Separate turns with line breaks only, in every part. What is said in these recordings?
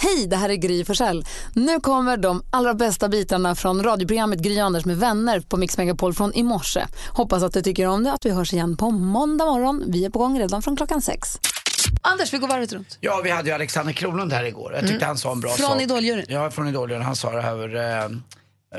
Hej, det här är Gry Forssell. Nu kommer de allra bästa bitarna från radioprogrammet Gry Anders med vänner på Mix Megapol från i morse. Hoppas att du tycker om det att vi hörs igen på måndag morgon. Vi är på gång redan från klockan sex. Anders, vi går varvet runt. Mm.
Ja, vi hade ju Alexander Kronlund här igår. Jag tyckte han sa en bra
Från
sak.
Idoljuryn.
Ja, från Idoljuryn. Han sa det här. Eh,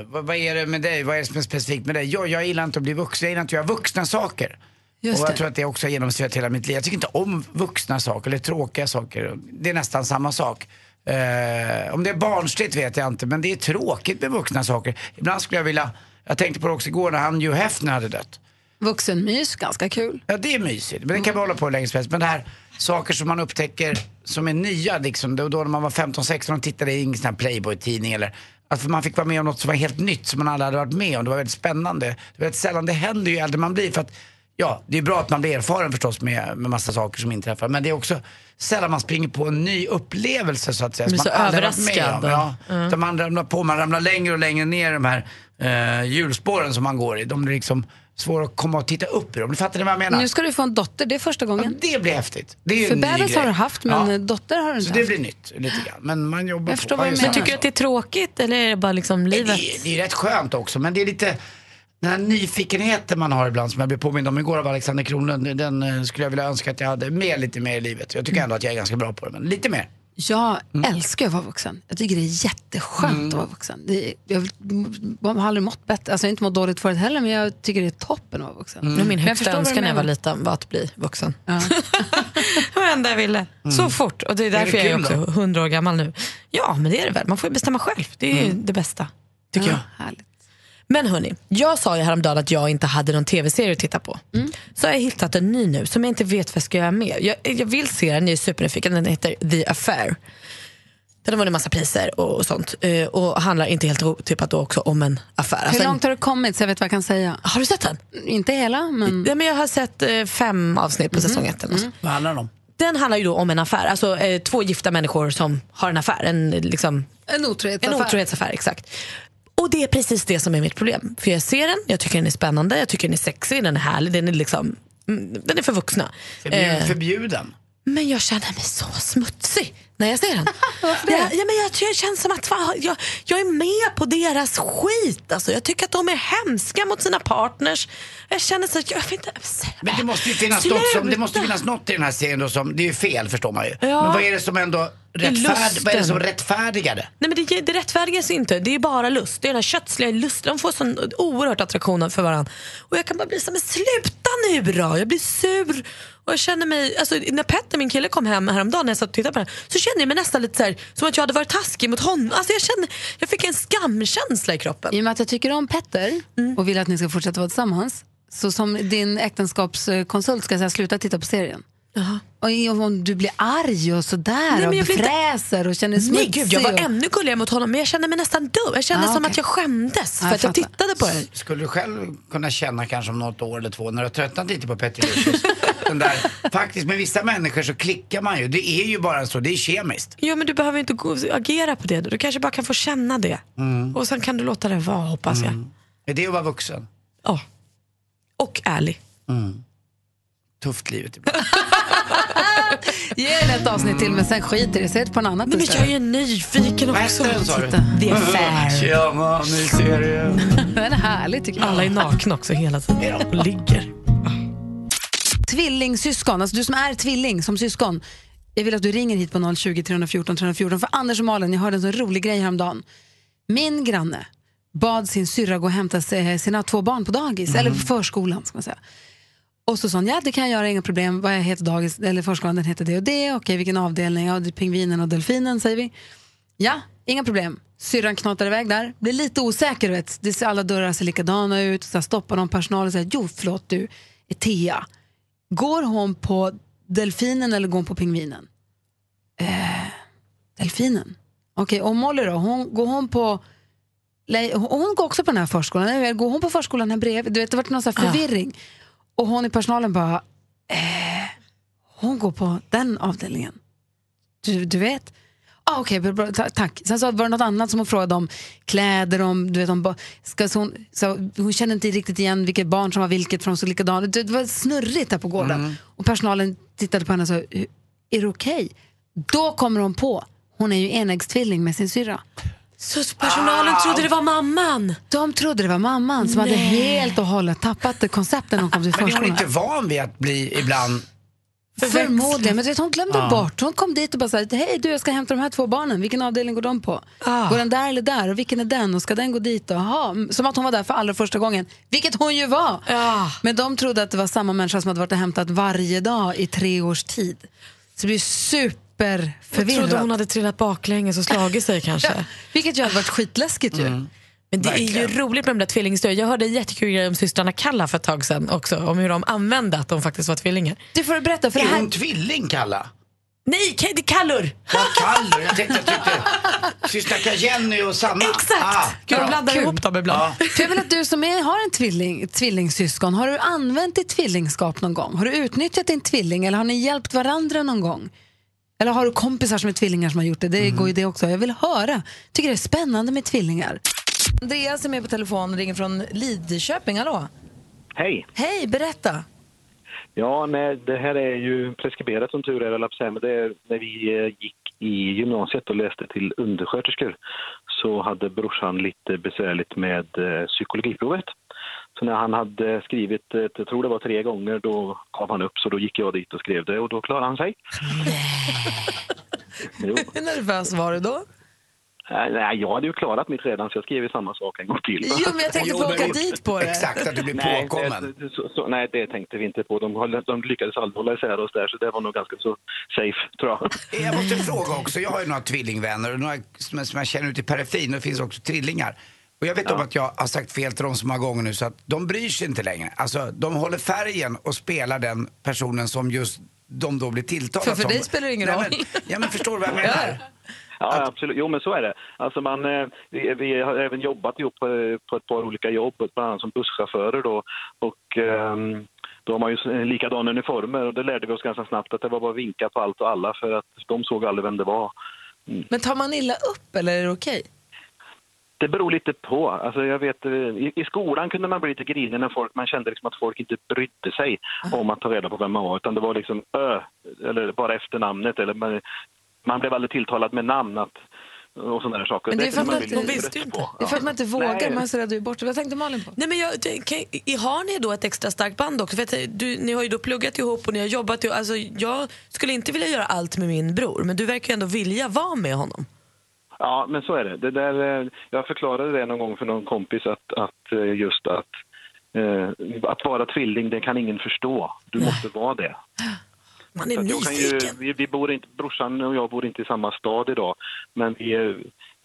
vad, vad är det med dig? Vad är det som är specifikt med dig? Jag, jag gillar inte att bli vuxen. Jag gillar inte att göra vuxna saker.
Just
och jag
det.
tror att det också har genomsyrat hela mitt liv. Jag tycker inte om vuxna saker eller tråkiga saker. Det är nästan samma sak. Eh, om det är barnsligt vet jag inte, men det är tråkigt med vuxna saker. Ibland skulle jag vilja, jag tänkte på det också igår när han Hugh Hefner hade dött.
Vuxenmys, ganska kul. Mm.
Ja, det är mysigt. Men det kan vi hålla på hur länge som helst. Men det här, saker som man upptäcker som är nya, liksom, då, då när man var 15-16 och tittade i en sån här Playboy-tidning eller att man fick vara med om något som var helt nytt som man aldrig hade varit med om. Det var väldigt spännande. Det är väldigt sällan det händer ju äldre man blir för att Ja, det är bra att man blir erfaren förstås med, med massa saker som inträffar. Men det är också sällan man springer på en ny upplevelse så att säga.
Man
som
blir
man
så
aldrig varit med
överraskad.
om. Ja,
Mm.
utan Man ramlar på, man ramlar längre och längre ner i de här eh, hjulspåren som man går i. De blir liksom svåra att komma och titta upp i dem. Fattar ni vad jag menar?
Nu ska du få en dotter, det är första gången.
Det blir häftigt. Det är ju
För
en ny
bebis
grej.
har du haft, men
Ja,
dotter har du
så
inte
det
haft.
blir nytt lite grann. Men man jobbar
Jag förstår
på.
vad du
Man
menar.
gör
Men
Tycker du
samma
att det är tråkigt eller är det bara liksom
sak.
livet?
det, är, det är rätt skönt också, men det är lite den här nyfikenheten man har ibland som jag blev påmind om igår av Alexander Kronlund. Den eh, skulle jag vilja önska att jag hade med lite mer i livet. Jag tycker ändå att jag är ganska bra på det, men lite mer.
Jag älskar att vara vuxen. Jag tycker det är jätteskönt
Mm.
att vara vuxen. Det är, jag vill- jag har aldrig mått bättre. Alltså, jag har inte mått dåligt förut heller, men jag tycker det är toppen att vara vuxen.
Mm.
Det var Min
jag
högsta
förstår vad du
önskan när jag var
menar.
liten var att bli vuxen.
Ja.
Det var det enda jag ville. Så fort. Och det Mm. är därför jag är
kul
också hundra år gammal nu. Ja, men det är det väl. Man får ju bestämma själv. Det är ju det bästa, tycker jag.
Mm. Härligt.
Men hörni, jag sa ju häromdagen att jag inte hade någon tv-serie att titta på. Så har jag hittat en ny nu som jag inte vet vad jag ska göra med. Jag, jag vill se den, jag är supernyfiken. Den heter The Affair. Den har vunnit massa priser och, och sånt. Eh, och handlar inte helt otippat då också om en affär.
Hur
Alltså,
långt har du kommit så jag vet vad jag kan säga?
Har du sett den?
Inte hela, men... Mhm. Mm.
Ja, men jag har sett eh, fem avsnitt på säsong ett. Eller något.
Vad handlar det om?
Den handlar ju då om en affär, alltså eh, två gifta människor som har en affär, en, eh, liksom,
En
en
otrohetsaffär.
otrohetsaffär. Exakt. Och det är precis det som är mitt problem. För jag ser den, jag tycker den är spännande, jag tycker den är sexig, den är härlig, den är liksom mm, den är för vuxna.
Förbjuden.
Eh,
förbjuden.
men jag känner mig så smutsig när jag ser den. jag, ja, men jag, jag känner som att fan, jag, jag är med på deras skit. Alltså, jag tycker att de är hemska mot sina partners. Jag känner så att jag vet inte...
Men det måste ju finnas något, som, det måste
Sluta.
finnas något i den här serien då som, det är ju fel förstår man ju.
Ja.
Men vad är det som ändå rättfärd,
lusten.
vad är det som rättfärdigar det?
Nej, men det, det rättfärdigas inte. Det är bara lust. Det är den här köttsliga lusten. De får sån oerhört attraktion för varandra. Och jag kan bara bli så här, men sluta nu då! Jag blir sur. Och jag känner mig, alltså, när Petter, min kille, kom hem häromdagen när jag satt och tittade på den här, så kände jag mig nästan lite så här, som att jag hade varit taskig mot honom. Alltså, jag, kände, jag fick en skamkänsla i kroppen.
I och med att jag tycker om Petter
Mm.
och vill att ni ska fortsätta vara tillsammans så som din äktenskapskonsult ska jag säga sluta titta på serien. Och i- om du blir arg och sådär
men
och
jag blir inte-
fräser och känner smutsig.
Nej, gud, jag var
och-
ännu gulligare mot honom men jag kände mig nästan dum. Jag kände
Ah,
som
okej.
att jag skämdes för
Ja, jag
att jag
fattar.
tittade på den.
Skulle du själv kunna känna kanske om något år eller två när du har tröttnat lite på Petter Lucius? Den där, faktiskt med vissa människor så klickar man ju. Det är ju bara så, det är kemiskt.
Ja, men du behöver inte gå, agera på det. Du kanske bara kan få känna det.
Mm.
Och sen kan du låta det vara, hoppas jag.
Mm. Är det att vara vuxen? Mm.
Ja. Och ärlig.
Tufft livet ibland.
Ge er ett avsnitt till men sen skiter i det. Se på en annan
Nej, men
istället.
jag är nyfiken
Vad
också.
hette den sa du? Mm.
The Affair.
Tjena, ny serie.
Den är härlig tycker jag.
Alla är nakna också hela tiden och ligger.
Tvillingsyskon, alltså du som är tvilling som syskon. Jag vill att du ringer hit på 020 314 314 för Anders och Malin, jag hörde en så rolig grej häromdagen. Min granne bad sin syrra gå och hämta sig- sina två barn på dagis, eller förskolan ska man säga. Och så sa hon, ja det kan jag göra, inga problem. Vad jag heter dagis, eller förskolan, den heter det och det. Okej, vilken avdelning? Ja, det är pingvinen och delfinen säger vi. Ja, inga problem. Syrran knatar iväg där, blir lite osäker. Vet. Det ser alla dörrar ser likadana ut. Så här stoppar någon personal och säger, jo förlåt du, är Thea. Går hon på delfinen eller går hon på pingvinen? Eh, delfinen. Okej, och Molly då? Hon, går hon på... Nej, hon- hon går också på den här förskolan. Nej, Går hon på förskolan här bredvid? Du vet, det har varit någon så här förvirring. Och hon i personalen bara... Eh, hon går på den avdelningen. Du, du vet? Ah, Okej, bra, bra, ta- tack. Sen så var det något annat som hon frågade om kläder, om, du vet, om ba- ska, så hon, så hon kände inte riktigt igen vilket barn som var vilket för de såg likadana ut. Det var snurrigt där på
Mm.
gården. Och personalen tittade på henne och sa, "Hur- är det okej? Då kommer hon på, hon
Hon är ju enäggstvilling med sin syrra.
Så personalen trodde det var mamman.
De trodde det var mamman som hade helt och hållet tappat det konceptet när hon kom till
Men är hon
förskolan.
inte van vid att bli ibland...
Förmodligen, men du vet, hon glömde bort. Hon kom dit och bara sa, hej du jag ska hämta de här två barnen, vilken avdelning går de på?
Ah.
Går den där eller där? Och vilken är den? Och ska den gå dit? Och, aha. Mm, Som att hon var där för allra första gången, vilket hon ju var.
Ah.
Men de trodde att det var samma människa som hade varit och hämtat varje dag i tre års tid. Så det blir
Jag
superförvirrat.
trodde hon hade trillat baklänges och slagit sig kanske.
Vilket ju hade varit skitläskigt ju.
Men det är ju
Verkligen.
roligt med de där tvillingstöd. Jag hörde en jättekul grej om systrarna Kalla för ett tag sedan också. Om hur de använde att de faktiskt var tvillingar.
Du får berätta, för det
Är
här
hon tvilling, Kalla?
Nej, Ka- det är Kallur!
Vad Kallur? Jag tänkte, jag tyckte syster Jenny och Sanna. Ah,
Exakt! Gud, de
bra.
blandar
Kul.
ihop dem ibland.
Ja.
För jag vill att du som är, har en tvilling, ett tvillingsyskon, har du använt ditt tvillingskap någon gång? Har du utnyttjat din tvilling eller har ni hjälpt varandra någon gång? Eller har du kompisar som är tvillingar som har gjort det? Det
Mm-hmm.
går ju det också. Jag vill höra. Tycker det är spännande med tvillingar.
Andreas är med på telefon och ringer från Lidköping. Hallå?
Hej!
Hej, berätta.
Ja, nej, det här är ju preskriberat som tur är, eller jag säga, men det är när vi eh, gick i gymnasiet och läste till undersköterskor så hade brorsan lite besvärligt med eh, psykologiprovet. Så när han hade skrivit, eh, jag tror det var tre gånger, då gav han upp. Så då gick jag dit och skrev det och då klarade han sig. jo.
Hur nervös var du då?
Eh, Nej, jag hade ju klarat mitt redan så jag skrev ju samma sak en gång till.
Jo, men jag tänkte
Jo,
på att
men-
åka dit på det.
Exakt, att du blir
Nej,
påkommen.
det- Så, så, nej, det tänkte vi inte på. De, höll- de lyckades aldrig hålla isär oss där, så det var nog ganska så safe, tror jag.
Eh, Jag måste fråga också, jag har ju några tvillingvänner och några som, som jag känner ute i periferin. Det finns också trillingar. Och jag vet om att jag har sagt fel till dem så många gånger nu så att de bryr sig inte längre. Alltså, de håller färgen och spelar den personen som just de då blir tilltalade
För- för
som.
dig spelar det ingen
Nej,
roll.
Men, ja, men förstår du vad jag menar?
Ja, absolut. Jo, men så är det. Alltså man, eh, vi, vi har även jobbat ihop eh, på ett par olika jobb, bland annat som busschaufförer. Då, och, ehm, då har man ju s- eh, likadana uniformer och det lärde vi oss ganska snabbt att det var bara att vinka på allt och alla för att de såg aldrig vem det var.
Men tar man illa upp eller är det okej?
Det beror lite på. Alltså jag vet, eh, i, I skolan kunde man bli lite grinig när folk, man kände liksom att folk inte brydde sig
Ah.
om att ta reda på vem man var. Utan det var liksom ö, eller bara efternamnet. Eller man, man blev aldrig tilltalad med namn att, och sådana där saker.
Men det är för
kunde
att
man
man inte-
bli lite
visste ju
trött
inte.
på.
Det är för att man inte vågar,
Nej.
man är så rädd att bli borta. Vad tänkte Malin på?
Nej, men jag, det- kan, i- har ni då ett extra starkt band också? För att eh, du, ni har ju då pluggat ihop och ni har jobbat ihop. Alltså, jag skulle inte vilja göra allt med min bror, men du verkar ju ändå vilja vara med honom.
Ja, men så är det. det där, eh, jag förklarade det någon gång för någon kompis att, att eh, just att, eh, att vara tvilling, det kan ingen förstå. Du måste vara det.
Man är
Så att jag kan ju,
nyfiken.
vi, vi bor inte, brorsan och jag bor inte i samma stad idag, men vi, eh,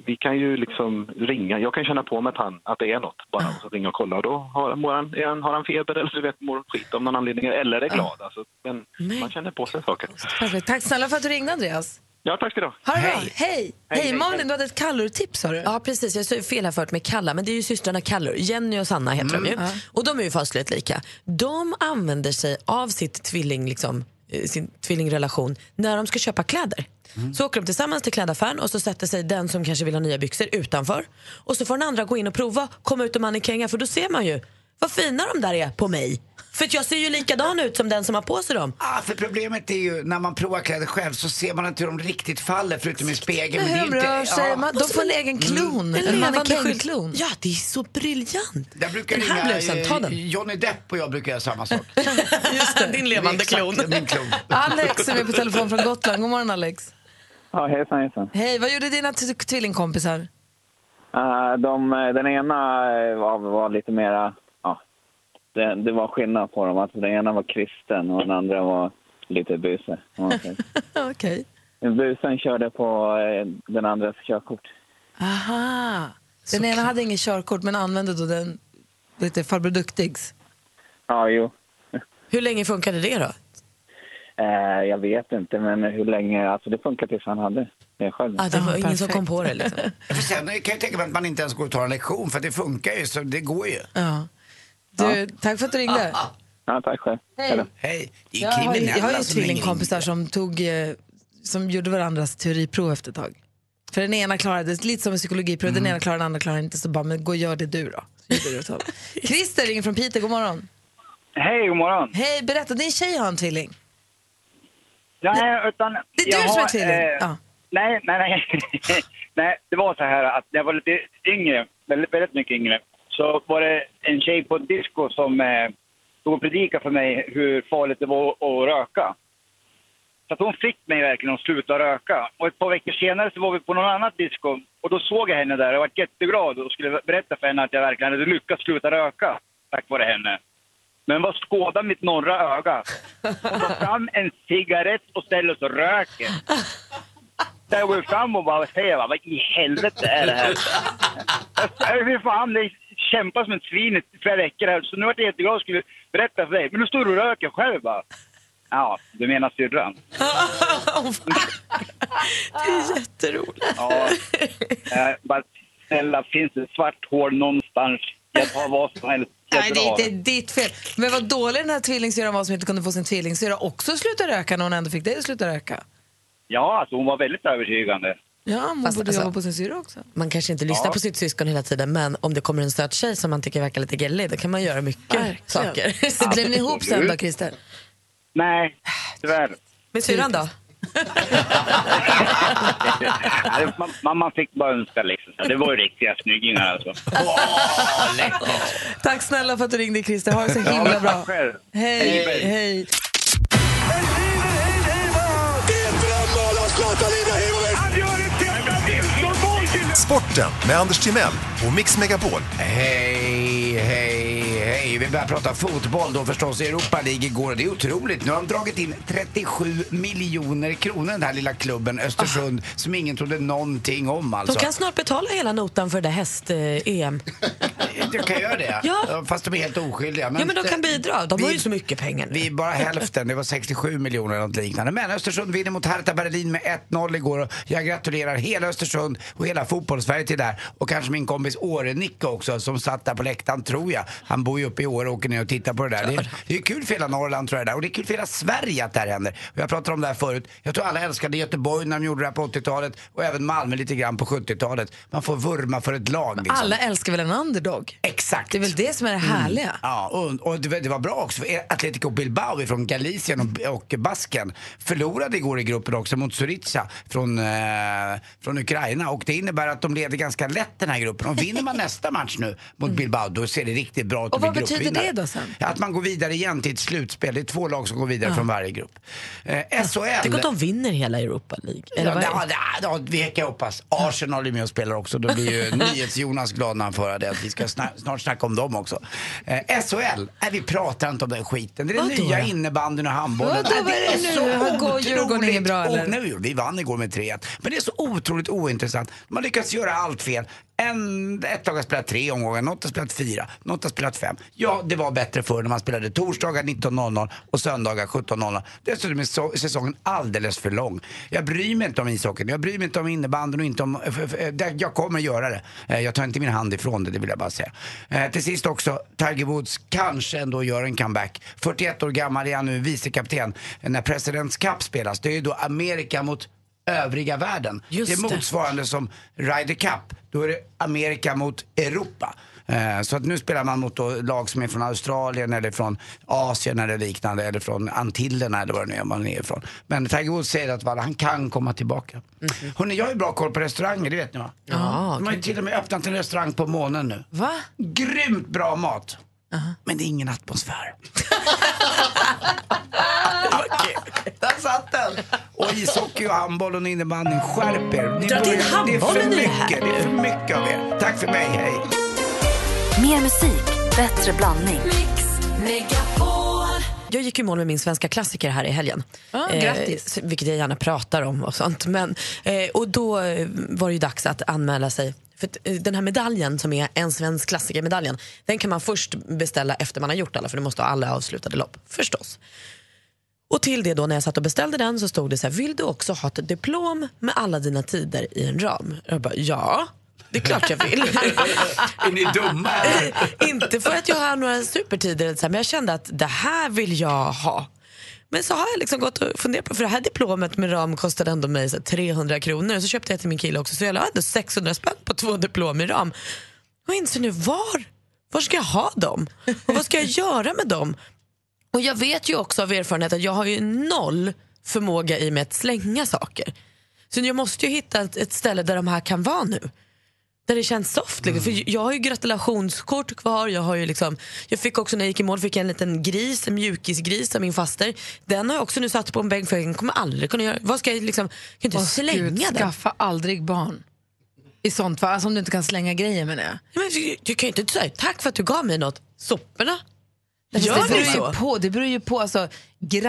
vi kan ju liksom ringa. Jag kan känna på mig att, han, att det är något bara, och så ringa och kolla. Och då har, mår han, är han, har han feber eller du vet, mår han skit om någon anledning eller är glad. Alltså, men
Men-
man känner på sig saker.
Perfekt. Tack snälla för att du ringde, Andreas.
Ja, tack ska du ha.
Ha det bra. Hej! Hej,
hej,
Malin,
hej.
du hade ett kallurtips, sa du?
Ja precis, jag sa fel här förut med Kalla, men det är ju systrarna Kallur, Jenny och Sanna heter de ju.
Mm.
Och de är ju fasligt lika. De använder sig av sitt tvilling, liksom, eh, sin tvillingrelation när de ska köpa kläder.
Mm.
Så åker de tillsammans till klädaffären och så sätter sig den som kanske vill ha nya byxor utanför. Och så får den andra gå in och prova, komma ut och mannekänga för då ser man ju vad fina de där är på mig. För att jag ser ju likadan ut som den som har på sig dem.
Ah, för problemet är ju när man provar kläder själv så ser man inte hur de riktigt faller förutom i spegeln.
Men
det är
hur
ju
de
inte-
rör sig,
ja.
man, de får en egen
Mm.
klon. En mannekängklon.
Ja, det är så briljant.
Jag brukar
den här blusen, ta
ringa eh,
den.
Johnny Depp och jag brukar göra samma sak.
Just det, din levande
Exakt,
klon.
Min klon.
Alex är med på telefon från Gotland. God morgon, Alex.
Ja, hejsan, hejsan.
Hej, vad gjorde dina t- tvillingkompisar?
Eh, de, den ena eh, var, var lite mera... Ja, det, det var skillnad på dem. Alltså, den ena var kristen och den andra var lite buse. om man säger.
Okej.
Busen körde på eh, den andras körkort.
Aha. Den ena hade ingen körkort men använde då den lite farbror Duktigs.
Ja, jo.
Hur länge funkade det då?
Eh, jag vet inte, men hur länge... Alltså, det funkar tills han hade det själv.
Ja, det var ingen som
perfekt.
kom på det. Liksom.
För sen kan jag tänka mig att man inte ens går och tar en lektion för att det funkar ju, så det går ju.
Ja. Du, Tack för att du ringde.
Ja, tack själv.
Hej.
Hej då.
Hej, det
Jag
är
har, ju-
kriminella
jag har ju
alltså,
som ringer in.
tvillingkompisar som, tog, eh, som gjorde varandras teoriprov efter ett tag. För den ena klarade, lite som en psykologiprov, den ena klarade den andra klarade inte. Så bara, men gå och gör det du då. Så gjorde det ett tag. Christer ringer från Piteå, god morgon.
Hej, god morgon.
Hej, berätta, din tjej har en tvilling.
Nej, eh, utan
Det är
jag
du som
har,
är tvilling.
eh,
ja.
nej, nej, nej. nej. Det var så här att när jag var lite yngre, väldigt, väldigt mycket yngre, så var det en tjej på ett disco som eh, stod och predikade för mig hur farligt det var att röka. Så att hon fick mig verkligen att sluta röka. Och ett par veckor senare så var vi på någon annat disco och då såg jag henne där och jag var jätteglad och skulle berätta för henne att jag verkligen hade lyckats sluta röka tack vare henne. Men vad skådar mitt norra öga? Hon tar fram en cigarett och ställer sig och röker. Så jag går fram och bara säger va, vad i helvete är det här? Jag fy fan, det kämpar som ett svin i flera veckor här. Så nu vart jag jätteglad och skulle berätta för dig. Men nu står du och röker själv bara. Ja, du menar syrran.
Det är jätteroligt.
Ja. Eh, bara, snälla, finns det ett svart hål någonstans? Jag tar vad som helst. Jag
Nej, det
drar.
är inte ditt fel. Men vad dålig den här tvillingsyrran var som inte kunde få sin tvillingsyrra också att sluta röka när hon ändå fick dig att sluta röka.
Ja, alltså hon var väldigt övertygande.
Ja, hon
Fast
borde
alltså-
jobba på sin syrra också.
Man kanske inte lyssnar på sitt syskon hela tiden men om det kommer en söt tjej som man tycker verkar lite gällig då kan man göra mycket saker.
Så blev ni ihop sen då, Christer?
Nej, tyvärr.
Med syrran då?
Nej, man- man, man fick bara önska liksom. Så Det var ju riktiga snyggingar alltså.
Tack snälla för att du ringde Christer. Ha det så himla bra.
Tack själv.
Hej, hej.
Sporten med Anders Timell och Mix Megapol.
Hej, hej, hej. Vi börjar prata fotboll då förstås. Europa League igår. Det är otroligt. Nu har de dragit in 37 miljoner kronor den här lilla klubben Östersund som ingen trodde någonting om
De
alltså.
kan snart betala hela notan för det eh, häst-EM.
Du kan göra det?
Ja.
Fast de är helt oskyldiga.
Ja men de kan bidra, de har
vi-
ju så mycket pengar nu.
Vi är bara hälften, det var 67 miljoner eller något liknande. Men Östersund vinner mot Hertha Berlin med 1-0 igår. Och Jag gratulerar hela Östersund och hela fotbollssverige till det här. Och kanske min kompis Åre-Nicke också som satt där på läktaren, tror jag. Han bor ju uppe i Åre och åker ner och tittar på det där. Det är, det är kul för hela Norrland tror jag det där. Och det är kul för hela Sverige att det här händer. Och jag pratade om det här förut. Jag tror alla älskade Göteborg när de gjorde det här på 80-talet och även Malmö lite grann på 70-talet. Man får vurma för ett lag liksom.
Alla älskar väl en underdog?
Exakt.
Det är väl det som är det
Mm.
härliga?
Mm. Ja, och, och det, var- det var bra också. för Atletico Bilbao från Galicien och, och Basken förlorade igår i gruppen också mot Syriza från, eh, från Ukraina. Och det innebär att de leder ganska lätt den här gruppen. Och vinner man nästa match nu mot Bilbao, då ser det riktigt bra
Mm.
ut.
Och
blir
vad betyder
gruppvinnare.
det då sen?
Att man går vidare igen till ett slutspel. Det är två lag som går vidare från varje grupp. Eh, SHL.
Tänk om de vinner hela Europa League. Eller
Ja,
vad
det,
är det?
ja, det- ja, vi kan hoppas. Arsenal är med och spelar också. Då blir ju NyhetsJonas glad när han får höra det. Att vi ska sna- snart snacka om dem också. Eh, SHL, nej, vi pratar inte om den skiten. Det är den
Vadå
nya
då?
innebandyn och handbollen.
Vadå,
Nej,
vad är det
så
nu? Har- går
otroligt
Djurgården inget bra,
o-
eller?
Nej, vi vann igår med 3-1. Men det är så otroligt ointressant. De har lyckats göra allt fel. En, ett lag har spelat tre omgångar, något har spelat fyra, något har spelat fem. Ja, det var bättre förr när man spelade torsdagar 19.00 och söndagar 17.00. Dessutom är så, säsongen alldeles för lång. Jag bryr mig inte om ishockeyn, jag bryr mig inte om innebandyn och inte om... f- f- eh, det- Jag kommer göra det. Eh, Jag tar inte min hand ifrån det, det vill jag bara säga. Eh, Till sist också, Tiger Woods kanske ändå gör en comeback. 41 år gammal är han nu, vicekapten. Eh, När Presidents Cup spelas, det är ju då Amerika mot övriga världen.
Just
det är
det.
motsvarande som Ryder Cup. Då är det Amerika mot Europa. Eh, Så att nu spelar man mot då lag som är från Australien eller från Asien eller liknande eller från Antillerna eller vad det nu är man är ifrån. Men Tiger Woods säger att vad, han kan komma tillbaka. Hörrni, jag har ju bra koll på restauranger, det vet ni va?
Ja,
De har ju till och med öppnat en restaurang på månen nu.
Va?
Grymt bra mat. Men det är ingen atmosfär. Okej, Där satt den! Och ishockey och handboll och innebandy, skärp er! Ni
Dra till
börjar- det är för
handbollen nu
mycket, det är för mycket av er. Tack för mig, hej!
Mer musik, bättre blandning.
Jag gick i mål med min svenska klassiker här i helgen.
Ah, grattis.
Eh, vilket jag gärna pratar om och sånt. Men, eh, och då eh, var det ju dags att anmäla sig. För att, eh, den här medaljen som är en svensk klassiker-medaljen, den kan man först beställa efter man har gjort alla för du måste ha alla avslutade lopp, förstås. Och till det då när jag satt och beställde den så stod det så här, vill du också ha ett diplom med alla dina tider i en ram? Jag bara, ja, det är klart jag vill.
Är ni dumma eller?
inte för att jag har några supertider, eller så här, men jag kände att det här vill jag ha. Men så har jag liksom gått och funderat på, för det här diplomet med ram kostade ändå mig så här, 300 kronor. Så köpte jag till min kille också, så jag la ändå 600 spänn på två diplom i ram. Och jag inser nu, var? Var ska jag ha dem? Och vad ska jag göra med dem? Och jag vet ju också av erfarenhet att jag har ju noll förmåga i mig att slänga saker. Så jag måste ju hitta ett, ett ställe där de här kan vara nu. Där det känns soft. Liksom.
Mm.
För jag har ju gratulationskort kvar. Jag, har ju liksom, jag fick också när jag gick i mål fick jag en liten gris, en mjukisgris av min faster. Den har jag också nu satt på en bänk för jag kommer aldrig kunna göra. Vad ska jag liksom, jag kan ju inte
Åh,
slänga
Gud,
den.
skaffa aldrig barn. I sånt fall, alltså om du inte kan slänga grejer menar jag.
Men, du, du kan ju inte säga tack för att du gav mig något. Soporna? Gör
det,
ni
beror ju
så?
på, det beror ju på, alltså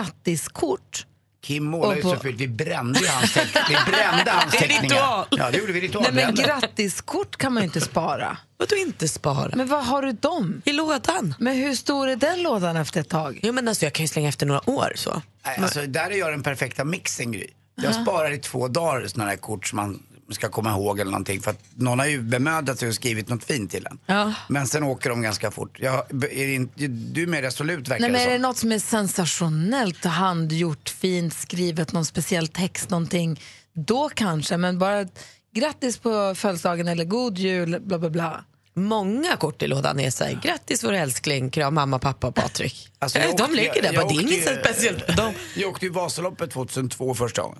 grattiskort.
Kim målade ju
Och på-
så fult, vi brände ju hans teckningar. Vi brände hans
Det är
teckningar.
ritual.
Ja, det gjorde vi ritual.
Nej men
brände.
grattiskort kan man ju inte spara.
Vadå inte spara?
Men vad har du dem?
I lådan?
Men hur stor är den lådan efter ett tag?
Jo men alltså jag kan ju slänga efter några år så.
Nej, alltså, där är jag den perfekta mixen Gry. Jag sparar i två dagar sådana här kort som man ska komma ihåg eller någonting. För att någon har ju bemödat sig och skrivit något fint till en.
Ja.
Men sen åker de ganska fort. Jag, är det inte, du är mer resolut verkar
Nej, men är
det
det
som.
något som är sensationellt, handgjort, fint, skrivet, någon speciell text, någonting, då kanske. Men bara grattis på födelsedagen eller god jul, bla bla bla.
Många kort i lådan är såhär, grattis vår älskling, kram mamma, pappa och Patrik.
Alltså, jag
Eh,
åkte-
de ligger där,
jag- jag
bara, det är
åkte
inget
ju-
speciellt med dem.
Jag åkte ju Vasaloppet 2002 första gången.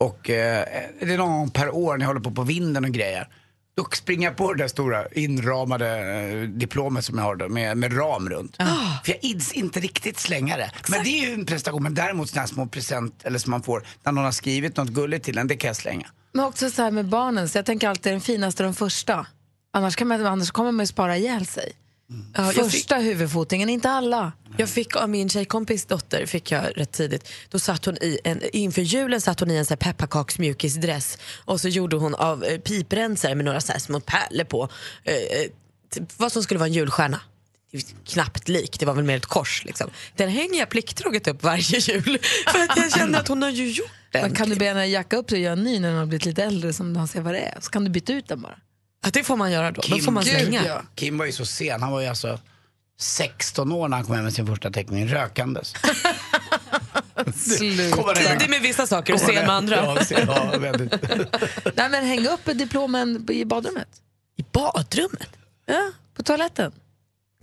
Och eh, det är någon gång per år när jag håller på på vinden och grejer. Då springer jag på det där stora inramade eh, diplomet som jag har då, med, med ram runt.
Ah.
För jag ids inte riktigt slänga det. Men det är ju en prestation. Men däremot sådana här små present eller som man får när någon har skrivit något gulligt till en, det kan jag slänga.
Men också så här med barnen, så jag tänker alltid den finaste de första. Annars, kan man, annars kommer man ju spara ihjäl sig.
Ja, jag, fick,
Första huvudfotingen, inte alla.
jag fick av min tjejkompis dotter, fick jag rätt tidigt, då satt hon i en, inför julen satt hon i en så här pepparkaksmjukisdress och så gjorde hon av eh, piprensare med några så här små pärlor på, eh, eh, typ vad som skulle vara en julstjärna. Det är ju Knappt lik, det var väl mer ett kors. Liksom. Den hänger jag plikttroget upp varje jul för att jag känner att hon har ju gjort den.
Men kan du be henne jacka upp sig och göra en ny när hon har blivit lite äldre som han ser vad det är? Så kan du byta ut den bara.
Ja, det får man göra då. Då får man
Gud,
slänga.
ja. Kim var ju så sen. Han var ju alltså 16 år när han kom hem med sin första teckning, rökandes. Kommer det-
Tidig med vissa saker och sen med andra.
Ja, sen- ja, väldigt.
Nej men häng upp diplomen i badrummet.
I badrummet?
Ja, på toaletten.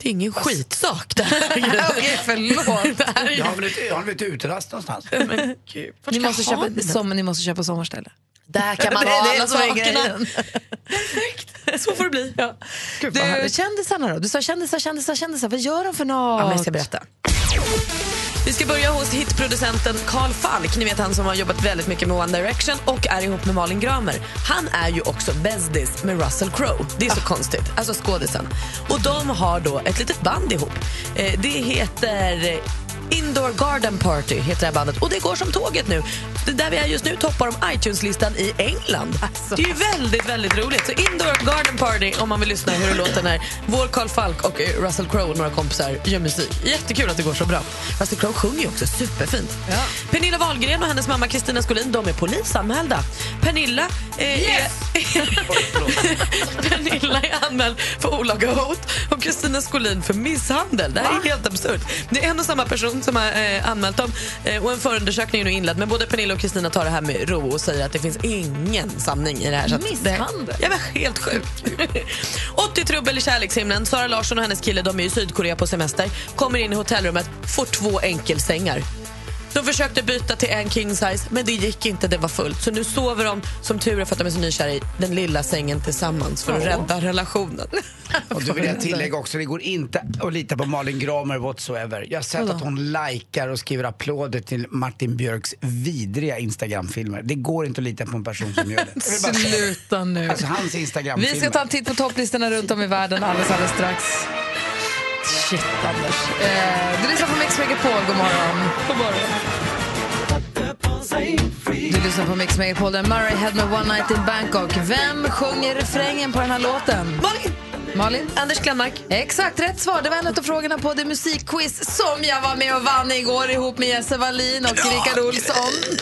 Det är ingen skitsak det här.
Okej, förlåt.
det här är ju...
Jag har väl ett- jag har väl ett uterast någonstans?
Men gud, vart
Ni
ska
måste,
jag ha
köpa,
den?
som, ni måste köpa sommarställe.
Där kan man
Det är
ha
det
alla
som är
sakerna.
grejen.
Perfekt, så får det bli. Ja. Gud, vad
Du,
härligt.
kändisarna då? Du sa kändisar, kändisar, kändisar. Vad gör de för något?
Ja, men jag ska berätta. Vi ska börja hos hitproducenten Carl Falk. Ni vet han som har jobbat väldigt mycket med One Direction och är ihop med Malin Gramer. Han är ju också bästis med Russell Crowe. Det är så konstigt. Alltså skådisen. Och de har då ett litet band ihop. Eh, det heter Indoor Garden Party heter det här bandet och det går som tåget nu. Det där vi är just nu toppar de iTunes-listan i England. Det är ju väldigt, väldigt roligt. Så Indoor Garden Party om man vill lyssna hur det låter när vår Carl Falk och eh, Russell Crowe och några kompisar gör musik. Jättekul att det går så bra. Russell Crowe sjunger ju också superfint. Pernilla Wahlgren och hennes mamma Kristina Skolin, de är polisanmälda. Pernilla eh, är... Pernilla är anmäld för olaga hot och Kristina Skolin för misshandel. Det här är helt absurt. Det är en och samma person som har eh, anmält dem eh, och en förundersökning är nu inledd. Men både Pernilla och Kristina tar det här med ro och säger att det finns ingen sanning i det här. Så att
Misshandel?
Det, jag var helt sjuk. 80 trubbel i kärlekshimlen. Sara Larsson och hennes kille de är i Sydkorea på semester. Kommer in i hotellrummet, får två enkelsängar. De försökte byta till en king size, men det gick inte. Det var fullt. Så nu sover de, som tur är för att de är så nykära, i den lilla sängen tillsammans för att rädda relationen.
Och då vill jag tillägga också, det går inte att lita på Malin Gramer whatsoever. Jag har sett att hon likar och skriver applåder till Martin Björks vidriga Instagram-filmer. Det går inte att lita på en person som gör det. Jag vill bara säga det.
Sluta nu.
Alltså hans Instagram-filmer.
Vi ska ta en titt på topplistorna runt om i världen alldeles, alldeles strax. Shit, Anders. Eh, du lyssnar på Mix Megapol. God morgon. God morgon. Du lyssnar på Mix Megapol. Det är Murray Head med One Night in Bangkok. Vem sjunger refrängen på den här låten?
Malin!
Malin?
Anders Glenmark.
Exakt rätt svar. Det var en av frågorna på det musikquiz som jag var med och vann igår ihop med Jesse Wallin och Rickard Olsson.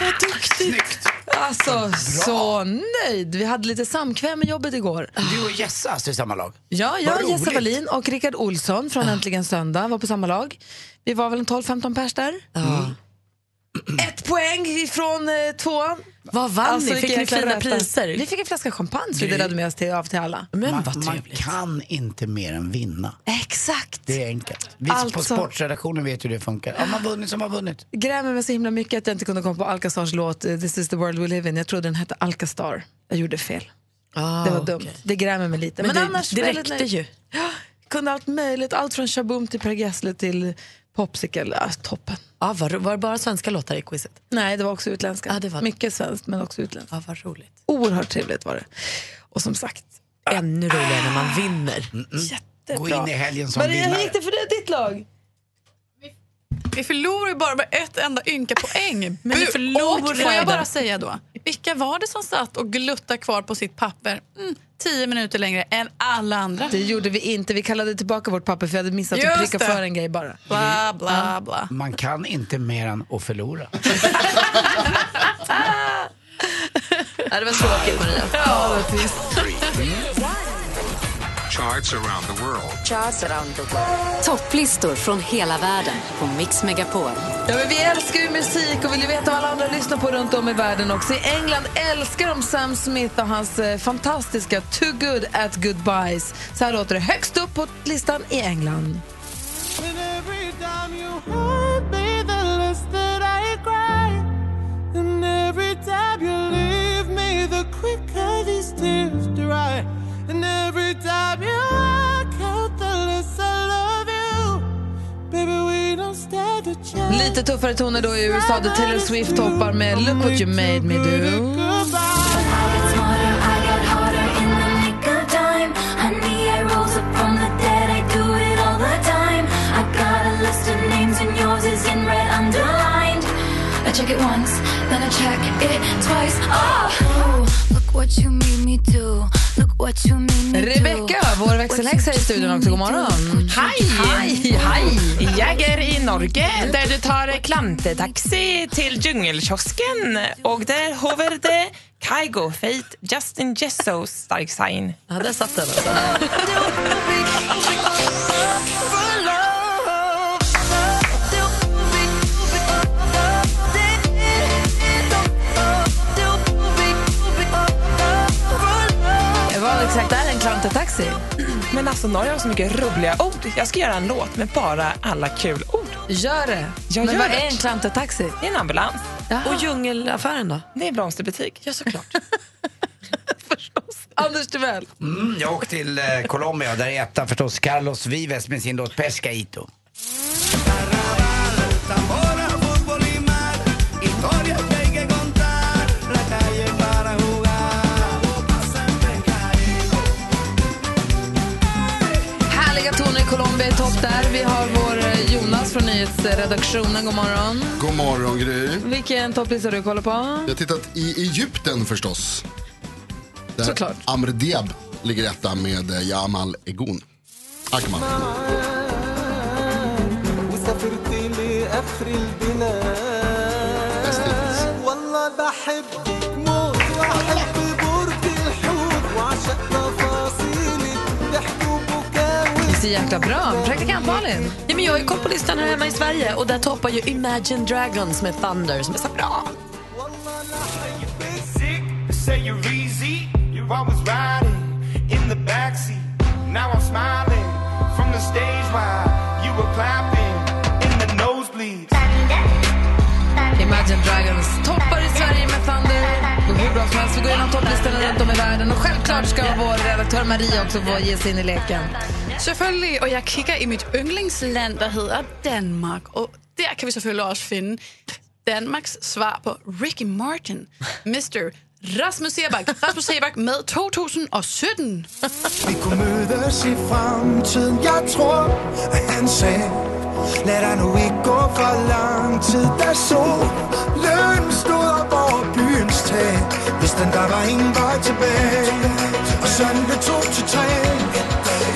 Vad duktigt! Alltså, så nöjd. Vi hade lite samkväm med jobbet igår.
Du och Jesse alltså i samma lag?
Ja, jag,
Vad
Jesse
roligt.
Wallin och Rickard Olsson
Ah.
från Äntligen söndag var på samma lag. Vi var väl en 12-15 pers där. Mm. Ett poäng från eh, tvåan.
Vad vann ni?
vilka
Fick ni
jäkla
fina
röta.
priser?
Vi fick en flaska champagne som vi delade med oss till, av till alla.
Men
Man,
vad
man
trevligt.
kan inte mer än vinna.
Exakt.
Det är enkelt. Vi
Alltså-
på sportredaktionen vet hur det funkar. Har man vunnit så har man vunnit.
grämer mig så himla mycket att jag inte kunde komma på Alcazars låt eh, This is the world we live in. Jag trodde den hette Alcastar. Jag gjorde fel. det var dumt. Det grämer mig lite.
Ah, Men, det,
Men, annars
det
väldigt
räckte
nöjd.
ju.
Ja, kunde allt möjligt. Allt från Shaboom till Per Gessle till Popsicle. Ja, toppen.
Ja, var, var det bara svenska låtar i quizet?
Nej, det var också utländska.
Ja, det var det.
Mycket svenskt men också utländskt.
Ja, vad roligt.
Oerhört trevligt var det. Och som sagt,
Ännu roligare när man vinner.
Mm, Gå in i helgen som
Maria, hur
vinnare.
gick det för dig, ditt lag?
Vi förlorar ju bara med ett enda ynka poäng.
Men ni
Bu-
förlorade.
Och får jag bara säga då, vilka var det som satt och gluttade kvar på sitt papper mm, tio minuter längre än alla andra?
Det gjorde vi inte. Vi kallade tillbaka vårt papper för vi hade missat
Just
att pricka
det.
för en grej bara.
Bla, bla, bla.
Mm. Man kan inte mer än att förlora.
Ja, det var tråkigt Maria.
Mm.
Topplistor från hela världen på Mix Megapol.
Ja, men vi älskar ju musik och vill ju veta vad alla andra lyssnar på runt om i världen också. I England älskar de Sam Smith och hans eh, fantastiska Too Good At Goodbyes. Så här låter det högst upp på listan i England. Lite tuffare toner då i USA där Taylor Swift toppar med Look What You Made Me Do.
Check it once, then I check it twice. Oh, look what you made me do. Look what you made me do.
Rebecca, vår växelhäxa i studion också. God morgon.
Hej! Hej! Jag är i Norge där du tar klantetaxi till djungelkiosken och där hover det Kygo Fate Justin Jesso stark sign.
Ja, där satt den.
Vad exakt är en klantetaxi?
Men alltså Norge har så mycket roliga ord. Jag ska göra en låt med bara alla kul ord.
Gör det.
Jag
men
gör
vad
det.
är en klantetaxi?
Det är en ambulans.
Och djungelaffären då?
Det är en blomsterbutik.
Ja, såklart.
Anders Timell.
Mm, jag åkte till eh, Colombia där är etta förstås Carlos Vives med sin låt Pescaito.
Härliga toner i Colombia i topp där. Vi har vår eh, Jonas från nyhetsredaktionen. God morgon.
God morgon, Gry.
Vilken topplista du kollar på?
Jag har tittat i Egypten förstås. Där
Såklart.
Amr Diab ligger etta med eh, Jamal Egon. Akman. Bäst hittills.
Det är så jäkla bra. Praktikant Malin.
Ja, men jag har ju koll på listan här hemma i Sverige och där toppar ju Imagine Dragons med Thunder som är så bra.
Imagine Dragons toppar i Sverige med Thunder. Och hur bra som helst. Vi går igenom topplistorna runt om i världen. Och självklart ska vår redaktör Maria också få ge sig in i leken.
Selvfølgelig, og jeg kigger i mit yndlingsland, der hedder Danmark. Og der kan vi selvfølgelig også finde Danmarks svar på Ricky Martin, Mr. Rasmus Sebak. Rasmus Sebak med 2017.
Vi kunne mødes i fremtiden Jeg tror, at han sagde Lad dig nu ikke gå for lang tid Da solen stod op over byens tag Hvis den der var ingen vej tilbage Og sådan blev to til tre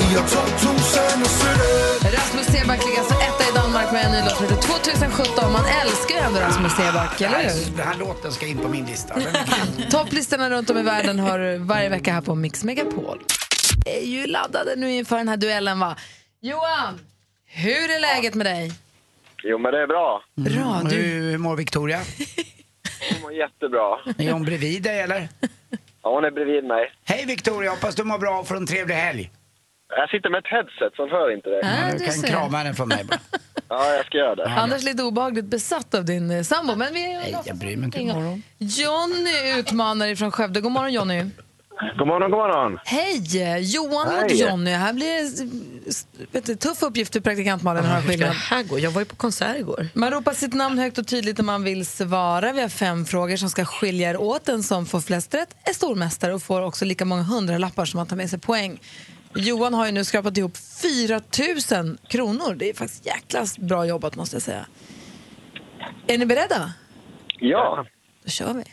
I år 2017
Rasmus Seback ligger alltså etta i Danmark med en ny låt som heter 2017. Man älskar ju ändå Rasmus Seback, eller hur?
Den här låten ska in på min lista. Den är grym.
Topplistorna runt om i världen har varje vecka här på Mix Megapol. Vi är ju laddade nu inför den här duellen va? Johan, hur är läget med dig?
Jo, men det är bra.
Mm.
Bra, du... Mm. hur, hur mår Victoria?
Hon mår jättebra.
Är hon bredvid dig eller?
Ja, hon är bredvid mig.
Hej Victoria, hoppas du mår bra och får en trevlig helg.
Jag sitter med ett headset, så hon hör inte dig.
Ja, du kan krama den från mig bara.
Ja, jag ska göra det.
Annars lite obehagligt besatt av din eh, sambo. Men vi är
jag bryr mig
inte. Jonny utmanar ifrån Skövde. God morgon Jonny.
God morgon, god morgon.
Hej! eh, Johan mot
Hej.
Jonny. Här blir det s- vet du, tuff uppgift för praktikant Malin.
Ja,
Ah,
hur ska det här gå? Jag var ju på konsert igår.
Man ropar sitt namn högt och tydligt när man vill svara. Vi har fem frågor som ska skilja er åt. Den som får flest rätt är stormästare och får också lika många hundralappar som man tar med sig poäng. Johan har ju nu skrapat ihop 4 000 kronor. Det är faktiskt jäkla bra jobbat måste jag säga. Är ni beredda?
Ja.
Då kör vi.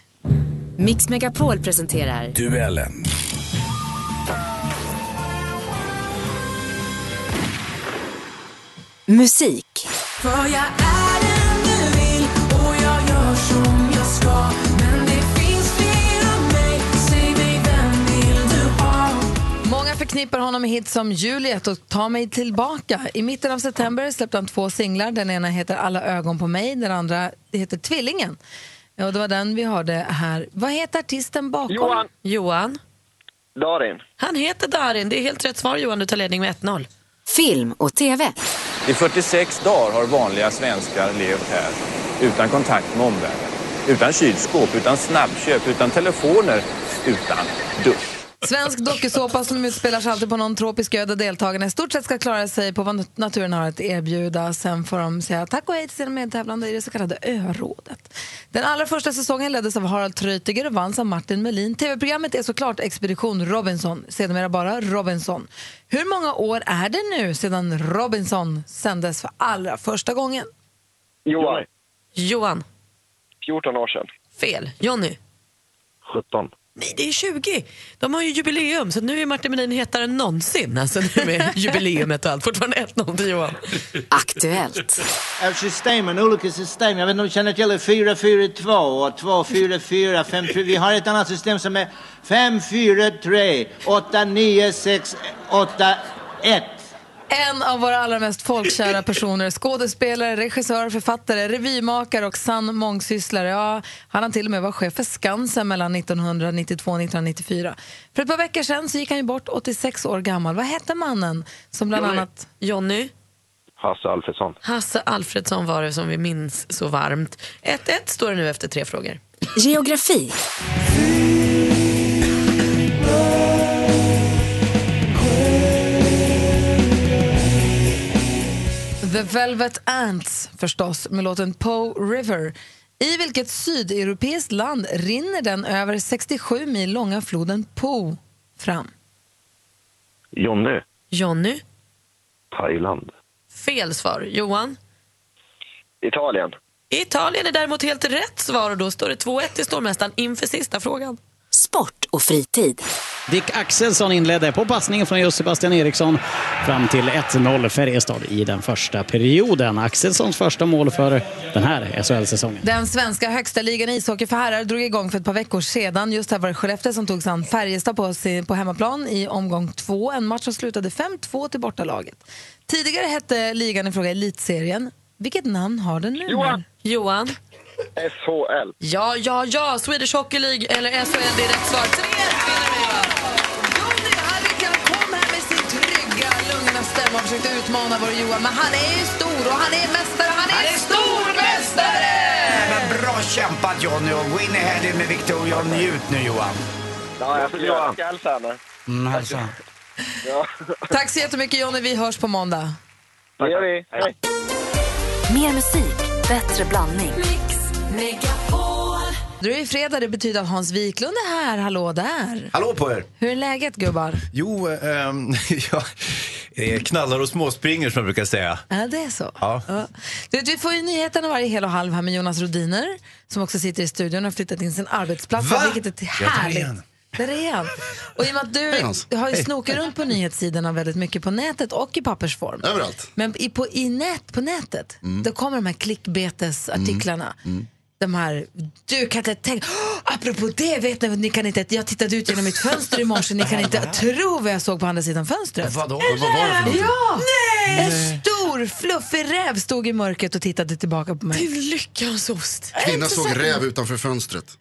Mix Megapol presenterar
Duellen.
musik.
För jag är den du vill och jag gör som jag ska Men det finns fler av mig, säg mig vem vill du ha?
Många förknippar honom med hits som Juliet och Ta mig tillbaka. I mitten av september släppte han två singlar. Den ena heter Alla ögon på mig, den andra heter Tvillingen. Och det var den vi hörde här. Vad heter artisten bakom?
Johan.
Johan.
Darin.
Han heter Darin. Det är helt rätt svar Johan. Du tar ledning med 1-0.
Film och TV.
I 46 dagar har vanliga svenskar levt här utan kontakt med omvärlden. Utan kylskåp, utan snabbköp, utan telefoner, utan dusch.
Svensk dokusåpa som utspelar sig alltid på någon tropisk ö där deltagarna i stort sett ska klara sig på vad naturen har att erbjuda. Sen får de säga tack och hej till sina medtävlande i det så kallade örådet. Den allra första säsongen leddes av Harald Treutiger och vanns av Martin Melin. TV-programmet är såklart Expedition Robinson, sedermera bara Robinson. Hur många år är det nu sedan Robinson sändes för allra första gången?
Johan.
Johan.
14 år sedan.
Fel. Jonny.
17.
Nej, det är 20. De har ju jubileum, så nu är Martin Melin hetare än någonsin. Alltså nu med jubileumet och allt. Fortfarande 1-0 till Johan.
Aktuellt.
Av systemen, olika system. Jag vet inte om du känner till det? 442 och 244, 54. Vi har ett annat system som är 543, 896, 81.
En av våra allra mest folkkära personer, skådespelare, regissör, författare, revymakare och sann mångsysslare. Ja, han har till och med varit chef för Skansen mellan 1992 och 1994. För ett par veckor sedan så gick han ju bort, 86 år gammal. Vad hette mannen som bland
Johnny.
annat...
Jonny?
Hasse Alfredsson.
Hasse Alfredsson var det som vi minns så varmt. 1-1 står det nu efter tre frågor.
Geografi.
The Velvet Ants, förstås, med låten Po River. I vilket sydeuropeiskt land rinner den över 67 mil långa floden Po fram?
Jonny.
Jonny?
Thailand.
Fel svar. Johan?
Italien.
Italien är däremot helt rätt svar och då står det 2-1 till stormästaren inför sista frågan.
Sport och fritid.
Dick Axelsson inledde på passningen från just Sebastian Eriksson fram till 1-0 Färjestad i den första perioden. Axelssons första mål för den här SHL-säsongen.
Den svenska högsta ligan i ishockey för herrar drog igång för ett par veckor sedan. Just här var det Skellefteå som tog sig an Färjestad på, sin- på hemmaplan i omgång två. En match som slutade 5-2 till bortalaget. Tidigare hette ligan i fråga Elitserien. Vilket namn har den nu? Mm. Johan.
Johan?
SHL.
Ja, ja, ja! Swedish Hockey League eller SHL, det är rätt svar. Tre rätt vinner vi!
kom här med sin trygga, lugna stämma och försökte utmana vår Johan. Men han är ju stor och han är mästare. Han är, stormästare!
Men bra kämpat Johnny och gå in i helgen med Victoria och njut nu Johan.
Ja, jag ska göra det. Jag ska hälsa henne.
Mm, alltså.
Ja.
Tack så jättemycket Jonny, vi hörs på måndag.
Det gör vi. Hej.
Mer musik, bättre blandning.
Du är ju fredag, det betyder att Hans Wiklund är här. Hallå där!
Hallå på er!
Hur är läget gubbar?
Jo, ehm, ja, eh, knallar och småspringer som jag brukar säga.
Ja, det är så.
Ja.
Ja. Du vet, vi får ju nyheterna varje hel och halv här med Jonas Rodiner som också sitter i studion och har flyttat in sin arbetsplats.
Va?
Vilket är
Ja, där är
härligt.
han.
Där är han. Och i och med att
Hej, Hans.
du har ju
Hej.
snokat runt på nyhetssidorna väldigt mycket på nätet och i pappersform.
Överallt.
Men i, på, i nät, på nätet,
Mm.
då kommer de här klickbetesartiklarna. Mm. De här, du kan inte tänka, oh, apropå det, vet ni, vad ni kan inte, jag tittade ut genom mitt fönster i morse, ni kan inte tro vad jag såg på andra sidan fönstret.
Vadå?
Vad var det för något?
Ja! Nej! En stor fluffig räv stod i mörkret och tittade tillbaka på mig. Till lyckans ost.
Kvinna såg räv utanför fönstret.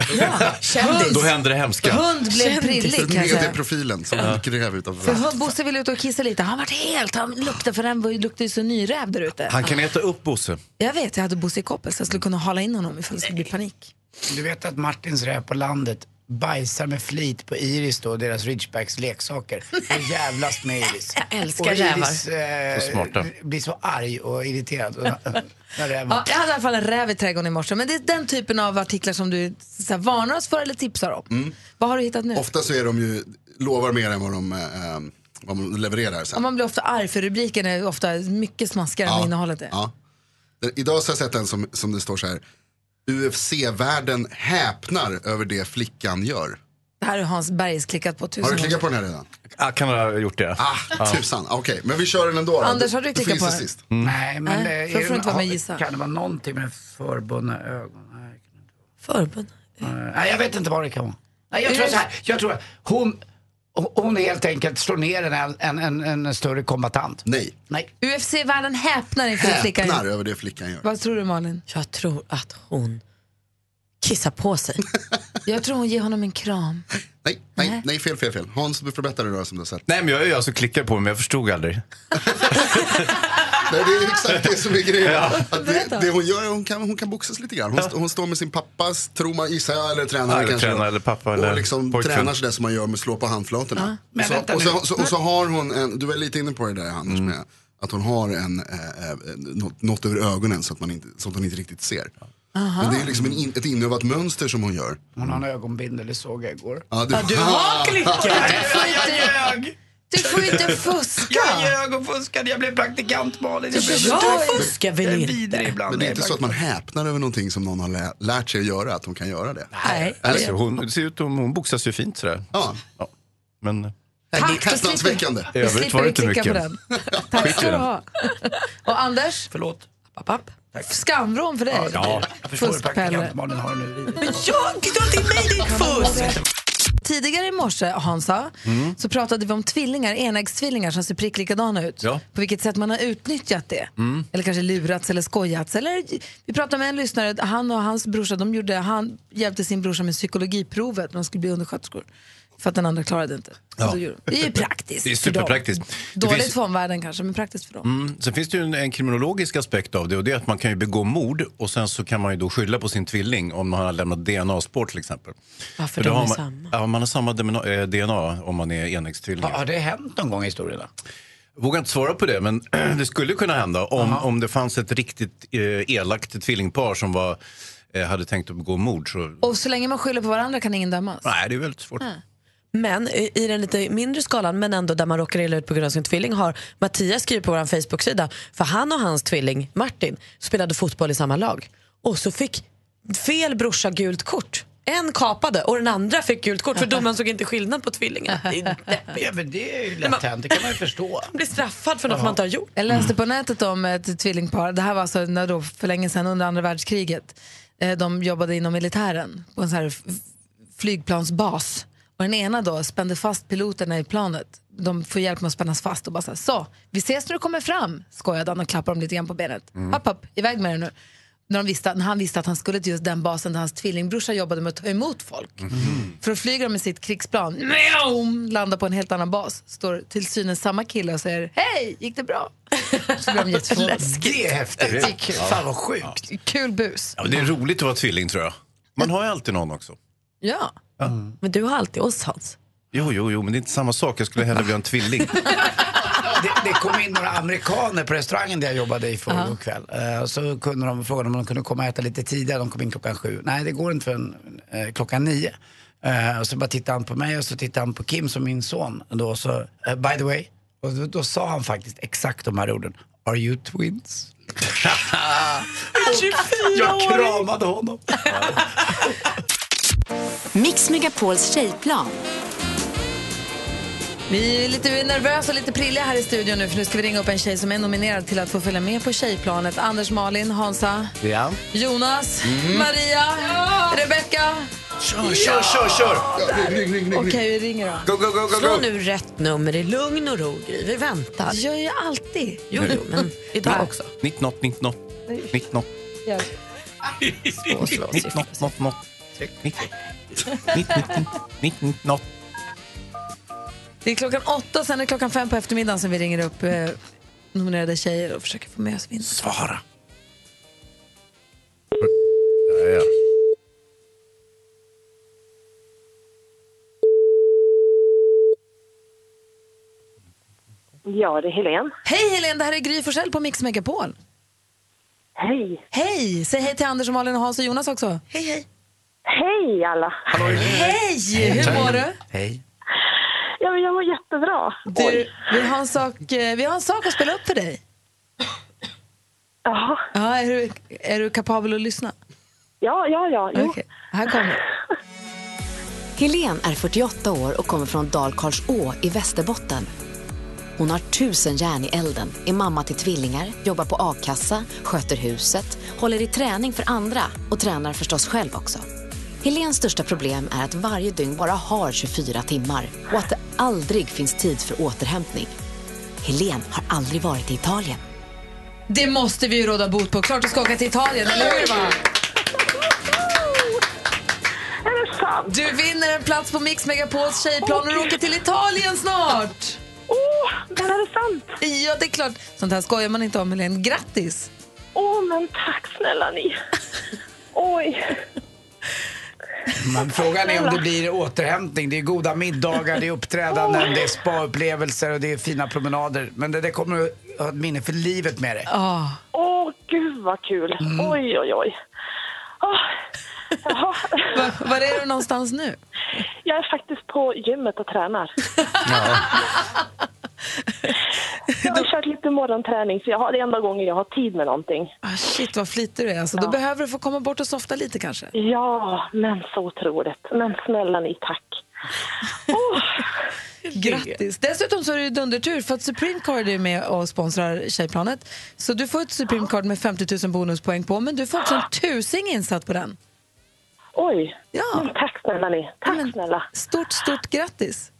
Då händer det hemska.
Hund blev prillig kan jag
Med i
säga.
profilen som gick räv utanför
För
fönstret.
hund, Bosse ville ut och kissa lite. Han var helt, han luktade för den var ju- luktade ju så nyräv där ute.
Han kan äta upp Bosse.
Jag vet, jag hade Bosse i koppel så jag skulle kunna hala in honom ifall det skulle bli panik.
Du vet att Martins räv på landet bajsar med flit på Iris då, deras Ridgebacks leksaker. Och jävlas med Iris.
Jag älskar
och Iris, eh,
rävar.
Så smarta.
blir så arg och irriterad. när räven-
Ja, jag hade i alla fall en räv i trädgården i morse. Men det är den typen av artiklar som du så här, varnar oss för eller tipsar om. Mm. Vad har du hittat nu?
Ofta så är de ju, lovar mer än vad de, eh, eh, vad de levererar
Ja,
sen.
man blir ofta arg för rubriken är ofta mycket smaskigare än vad innehållet är.
Ja. Den- Idag så har jag sett en som, som det står så här. UFC-världen häpnar över det flickan gör.
Det här har Hans Bergs klickat på tusen
Har du
gånger.
klickat på den här redan?
Ah, kan ha gjort det.
Ah, tusan. Okej, men vi kör den ändå. då.
Anders, har du
Det
klickat
finns
på
det
den?
sist.
Mm.
Nej, men
Nej,
eh,
för
är
får
det-
inte vara med
har-
och gissa.
Kan det vara någonting med förbundna ögon? Nej,
Förbund?
Nej, jag vet inte vad det kan vara. Nej,
Är
jag tror
Mm.
det-
så här, jag tror hon, hon helt enkelt slår ner en, en, en, en större kombatant.
Nej.
Nej.
UFC-världen häpnar inför det flickan.
Häpnar över det flickan gör.
Vad tror du Malin?
Jag tror att hon kissar på sig.
Jag tror hon ger honom en kram.
Nej, nej, nej, fel, fel, fel. Hans, du får berätta det då som du har sett.
Nej, men jag är ju alltså klickar på men jag förstod aldrig.
Nej, det är exakt det som är grejen.
Ja.
Att det, det hon gör är hon kan, hon kan boxas lite grann. Hon, st- hon står med sin pappas, tror man, gissar jag, eller tränare
Ja, eller
kanske. då.
tränare eller pappa
och
eller
liksom
pojkvän.
tränar sådär som man gör med slå på handflatorna.
Ja. Men
Och så-
vänta
och,
nu.
så, så, och så har hon, en, du var lite inne på det där Anders
Mm.
med, att hon har en, eh, eh, något, något över ögonen så att, man inte, så att hon inte riktigt ser.
Aha.
Men det är ju liksom en in, ett inövat mönster som hon gör.
Hon har en ögonbindel, det såg jag igår.
Ja, du- Ja, du har klickat.
Jag ljög!
Du får inte fuska!
Jag ljög och fuskade, jag blev praktikant Malin. Jag blev- Jag är vidrig ibland.
Men det är inte
Jag
så att man häpnar över någonting som någon har lä- lärt sig att göra, att hon kan göra det.
Nej.
Alltså, hon, det ser ut som hon boxas ju fint sådär.
Ja.
Men
Häpnadsväckande.
i övrigt var det inte mycket.
Tack
Skit i
ska du
den.
ha. Och Anders?
Förlåt.
App, app. Skamvrån för dig.
Ja, jag förstår hur
Fuskpelle.
praktikant Malin har det nu.
Men jag, du har till mig ditt fusk! Tidigare i morse, Hansa,
Mm.
så pratade vi om tvillingar, enäggstvillingar som ser prick likadana ut.
Ja.
På vilket sätt man har utnyttjat det. Mm. Eller kanske lurats eller skojats. Eller, vi pratade med en lyssnare, han och hans brorsa, de gjorde, han hjälpte sin brorsa med psykologiprovet när de skulle bli undersköterskor. För att den andra klarade inte.
Ja.
Och då gjorde de- Det är ju praktiskt
Det är
för dem.
superpraktiskt. Det
Dåligt
finns-
för omvärlden kanske, men praktiskt för dem.
Mm. Sen finns det ju en, en kriminologisk aspekt av det och det är att man kan ju begå mord och sen så kan man ju då skylla på sin tvilling om man har lämnat DNA-spår till exempel.
Varför
då
de
har
är
man,
samma?
Ja, man har samma demna- eh, DNA om man är enäggstvillingar.
Har det hänt någon gång i historien? Då?
Vågar inte svara på det, men det skulle kunna hända om, om det fanns ett riktigt eh, elakt tvillingpar som var, eh, hade tänkt att begå mord. Så,
Och så länge man skyller på varandra kan ingen dömas.
nej, det är väldigt svårt.
Men i i den lite mindre skalan, men ändå där man råkar illa ut på grund av sin tvilling, har Mattias skrivit på vår Facebook-sida, för han och hans tvilling Martin spelade fotboll i samma lag. Och så fick fel brorsa gult kort. En kapade och den andra fick gult kort för domaren såg inte skillnad på tvillingar. Det är deppigt.
Ja, men det är ju lätt hänt, det kan man ju förstå.
Man blir straffad för något man inte har gjort.
Jag läste på nätet om ett tvillingpar, det här var alltså när då, för länge sedan under andra världskriget. Eh, De jobbade inom militären på en så här f- flygplansbas. Och den ena då spände fast piloterna i planet. De får hjälp med att spännas fast och bara så, här, så vi ses när du kommer fram, skojade han och klappade dem lite grann på benet.
Mm.
Hopp, hopp, iväg med dig nu. När, de visste, när han visste att han skulle till just den basen där hans tvillingbrorsa jobbade med att ta emot folk. För att flyga med sitt krigsplan, meow, landar på en helt annan bas, står till synes samma kille och säger hej, gick det bra? Så blir de jätteförvånade.
Det är häftigt.
Det är kul.
Fan vad sjukt.
Kul bus.
Ja, men det är roligt att vara tvilling tror jag. Man har ju alltid någon också.
Ja.
Men du har alltid oss Hans.
Jo, jo, jo, men det är inte samma sak. Jag skulle hellre vilja ha en tvilling.
Det, det kom in några amerikaner på restaurangen där jag jobbade i förrgår kväll. Eh, så kunde de fråga om de kunde komma och äta lite tidigare. De kom in klockan sju. Nej, det går inte förrän eh, klockan nio. Eh, och så bara tittade han på mig och så tittade han på Kim som min son. Då, så, eh, by the way, och då, då sa han faktiskt exakt de här orden. Are you twins? Jag kramade honom.
Mix Megapols tjejplan.
Vi är lite nervösa och lite prilliga här i studion nu för nu ska vi ringa upp en tjej som är nominerad till att få följa med på tjejplanet. Anders, Malin, Hansa,
Ja.
Jonas,
Mm.
Maria, Rebecca
Kör, kör, kör, kör!
Okej, vi ringer då.
Go, go, go, go,
Slå
go!
nu rätt nummer i lugn och ro, Gry. Vi väntar.
Jag gör ju alltid.
Jo, jo, men idag också.
19, 19, 19.
Slå, slå, siffra,
Det är klockan åtta, sen är det klockan fem på eftermiddagen som vi ringer upp eh, nominerade tjejer och försöker få med oss vinnare.
Svara.
Ja, det är Helene.
Hej Helene, det här är Gry Forssell på Mix Megapol.
Hej.
Hej! Säg hej till Anders, och Malin, och Hans och Jonas också. Hej, hej.
Hej alla!
Hej! Hur mår du?
Hej.
Ja, men jag mår jättebra.
Du, vi har, en sak, eh, vi har en sak att spela upp för dig.
Jaha.
Ja, är, du, är du kapabel att lyssna?
Ja, ja, ja.
Jo. Här kommer
Helen är 48 år och kommer från Dal-Karlså i Västerbotten. Hon har tusen järn i elden, är mamma till tvillingar, jobbar på a-kassa, sköter huset, håller i träning för andra och tränar förstås själv också. Helens största problem är att varje dygn bara har 24 timmar och att det aldrig finns tid för återhämtning. Helen har aldrig varit i Italien.
Det måste vi ju råda bot på. Klart du ska åka till Italien, eller hur? Va? Du vinner en plats på Mix Megapols tjejplan och du åker till Italien snart!
Åh, men är det sant?
Ja, det är klart. Sånt här skojar man inte om, Helene. Grattis!
Åh, men tack snälla ni. Oj.
Men frågan är om det blir återhämtning. Det är goda middagar, det är uppträdanden, det är spa-upplevelser och det är fina promenader. Men det, det kommer du ha ett minne för livet med dig. Mm.
Åh,
gud vad kul. Oj, oj, oj. Åh, Jaha.
Var, var är du någonstans nu?
Jag är faktiskt på gymmet och tränar. Jag har kört lite morgonträning, så jag har, det är enda gången jag har tid med någonting.
Ah, shit, vad flitig du är. Alltså, Då
Ja.
behöver du få komma bort och softa lite kanske.
Ja, men så otroligt. Men snälla ni, tack.
Grattis! Dessutom så är det ju dundertur för att Supreme Card är med och sponsrar Tjejplanet. Så du får ett Supreme Card med 50 000 bonuspoäng på, men du får också en tusing insatt på den.
Oj!
Ja.
Men tack snälla ni. Tack snälla.
Stort, stort grattis!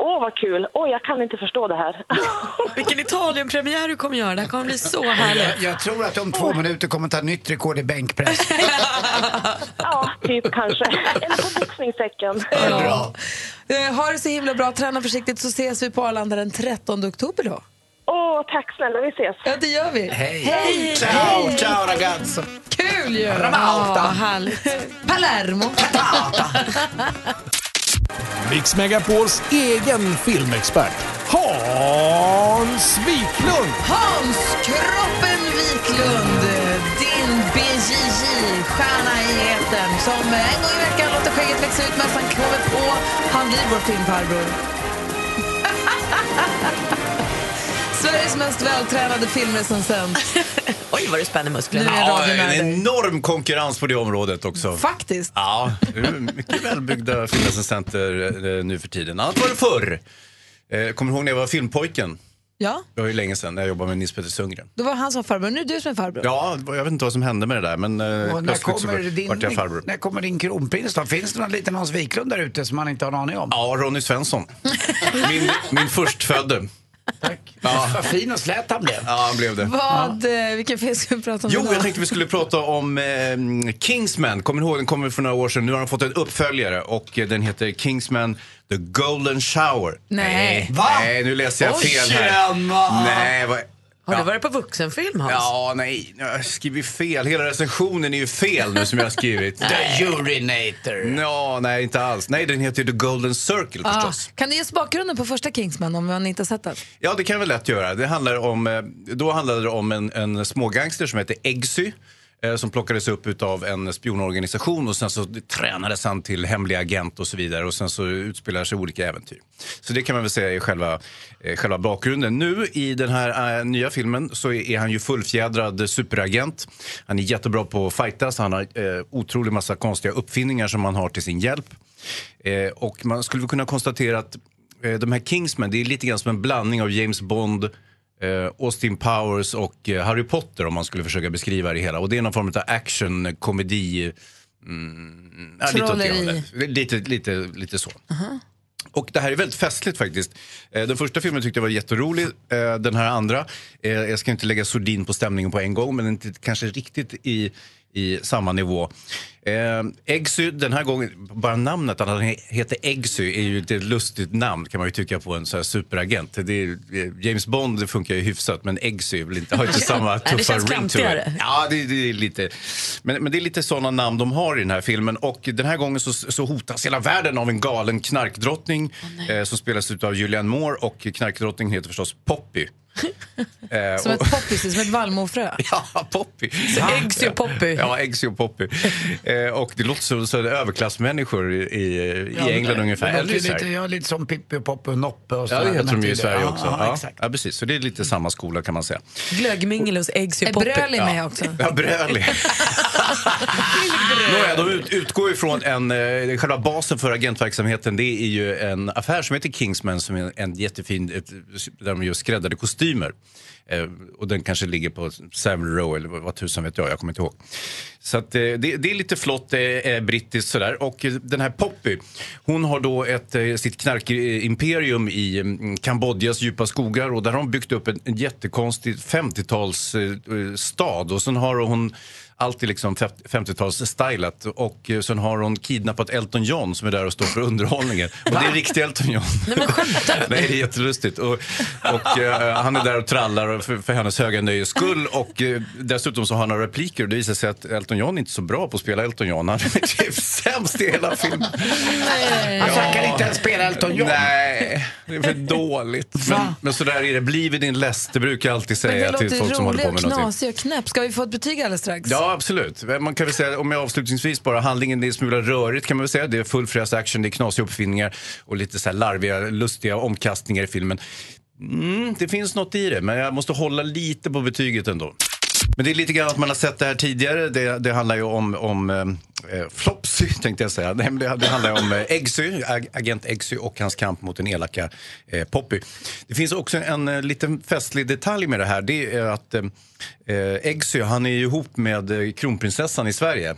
Åh, vad kul. Åh, jag kan inte förstå det här.
Vilken Italien-premiär du kommer göra. Det här kommer bli så härligt.
Jag, jag tror att om två minuter kommer ta nytt rekord i bänkpress.
ja, typ kanske. Eller på boxningssäcken.
Ja. Eh, Ha det så himla bra, träna försiktigt så ses vi på Arlanda den 13 oktober då.
Åh, tack snälla. Vi ses.
Ja, det gör vi.
Hej!
Hej.
Ciao, ciao ragazzo!
Kul ju!
Ramauta.
Ja, härligt. Palermo.
Mix Megapols egen filmexpert Hans Wiklund.
Hans Kroppen Wiklund, din BJJ-stjärna i etern som en gång i veckan låter skägget växa ut mössan kommer på. Han blir vår filmfarbror. Sveriges mest vältränade filmer som sänds.
Oj, vad du spänner musklerna.
Ja, en enorm konkurrens på det området också.
Faktiskt.
Ja, det är mycket välbyggda filmassistenter eh, nu för tiden. Annat var det förr. Eh, Kommer du ihåg när jag var filmpojken?
Ja,
Det var ju länge sedan när jag jobbade med Nils Petter Sundgren.
då var han som farbror. Nu är du som är farbror.
Ja, det var- jag vet inte vad som hände med det där men eh,
Och när
plötsligt så
kommer,
vart-
din,
vart jag farbror.
när kommer din kronprins då? Finns det någon liten Hans Wiklund där ute som man inte har en aning om?
Ja, Ronny Svensson. Min, min förstfödde. Tack. Ja.
Vad fin och slät han blev.
Ja, han blev det.
Vad, eh, vilken film ska vi prata om
Jo,
idag?
jag tänkte vi skulle prata om eh, Kingsman. Kommer ni ihåg, den kom för några år sedan. Nu har den fått en uppföljare och eh, den heter Kingsman The Golden Shower.
Nej.
Va? Nej, nu läser jag
Oj,
fel här.
tjena!
Nej, vad...
Har du varit på vuxenfilm, Hans?
Ja, nej, jag har skrivit fel. Hela recensionen är ju fel nu som jag har skrivit.
The Urinator.
Ja, nej, inte alls. Nej, den heter ju The Golden Circle
Ah,
förstås.
Kan du ge oss bakgrunden på första Kingsman om man inte har sett den?
Ja, det kan jag väl lätt göra. Det handlar om, eh, då handlade det om en, en smågangster som heter Eggsy eh, som plockades upp av en spionorganisation och sen så tränades han till hemlig agent och så vidare och sen så utspelar sig olika äventyr. Så det kan man väl säga är själva, eh, själva bakgrunden. Nu i den här eh, nya filmen så är han ju fullfjädrad superagent. Han är jättebra på att fightas, han har eh, otrolig massa konstiga uppfinningar som han har till sin hjälp. Eh, och man skulle väl kunna konstatera att eh, de här Kingsmen, det är lite grann som en blandning av James Bond, eh, Austin Powers och eh, Harry Potter om man skulle försöka beskriva det hela. Och det är någon form av action, komedi, Mm, ja, lite, åt det
Trolleri.
hållet. lite, lite, lite så. Och det här är väldigt festligt faktiskt. Eh, Den första filmen tyckte jag var jätterolig. Eh, Den här andra, eh, jag ska inte lägga sordin på stämningen på en gång, men inte kanske riktigt i, i samma nivå. Eh, Eggsy, den här gången, bara namnet att han he- heter Eggsy är ju ett lustigt namn kan man ju tycka på en så här superagent. Det är, eh, James Bond det funkar ju hyfsat, men Eggsy vill inte- har inte samma
Nej, det
tuffa
känns
ring to
klantigare.
it. Ja, det, det är lite... Men, men det är lite sådana namn de har i den här filmen. Och den här gången så, så hotas hela världen av en galen knarkdrottning eh, som spelas av Julianne Moore och knarkdrottningen heter förstås Poppy. Eh,
Som ett
och-
poppis, som ett vallmofrö.
Ja, Poppy.
Så äggs ju Poppy.
Ja, äggs ju Poppy. Eh, och det låter som så här överklassmänniskor i, i
Ja,
England
men-
ungefär.
men
Eller
de är
så här.
lite, ja, lite som Pippi och Poppe och Noppe och så.
Ja, det
här,
heter
den
de ju i
tiden.
Sverige
Ja,
också.
ja,
Ja,
exakt.
ja, precis. Så det är lite samma skola kan man säga.
Glöggmingel hos äggs ju
Är
poppy.
Bröli med
Ja.
också?
Ja, Bröli. Nåja, de ut, utgår ifrån en... Eh, själva basen för agentverksamheten det är ju en affär som heter Kingsman som är en, en jättefin... Ett, där de gör skräddade kostymer. Eh, och den kanske ligger på Savile Row eller vad, vad tusan vet jag, jag kommer inte ihåg. Så att, eh, det, det är lite flott eh, eh, brittiskt sådär. Och eh, den här Poppy, hon har då ett, eh, sitt knarkimperium i mm, Kambodjas djupa skogar och där har hon byggt upp en, en jättekonstig 50-talsstad eh, stad. och sen har hon alltid liksom fem- 50-tals-stylat och eh, sen har hon kidnappat Elton John som är där och står för underhållningen. Och det är riktig Elton John. Nej, det är jättelustigt. Och, och, eh, han är där och trallar och för, för hennes höga nöjes skull. Och, eh, dessutom så har han några repliker och det visar sig att Elton John är inte så bra på att spela Elton John. Han är typ sämst i hela filmen.
Alltså, han kan inte ens spela Elton John.
Nej, det är för dåligt. Men, men så där är det. Bliv i din läst, det brukar jag alltid
Men
säga
det
till folk
låter
som håller
rolig
på
och
med någonting.
knasig och knäpp. Ska vi få ett betyg alldeles strax?
Ja, absolut. Man kan väl säga, om jag avslutningsvis bara, handlingen är en smula rörigt kan man väl säga. Det är full fräs action, det är knasiga uppfinningar och lite så här larviga, lustiga omkastningar i filmen. Mm, det finns något i det, men jag måste hålla lite på betyget ändå. Men det är lite grann att man har sett det här tidigare. Det, det handlar ju om, om eh, Flopsy, tänkte jag säga. Nej, men det, det handlar ju om eh, Eggsy, ag, agent Eggsy och hans kamp mot den elaka eh, Poppy. Det finns också en eh, liten festlig detalj med det här. Det är att eh, eh, Eggsy, han är ju ihop med eh, kronprinsessan i Sverige.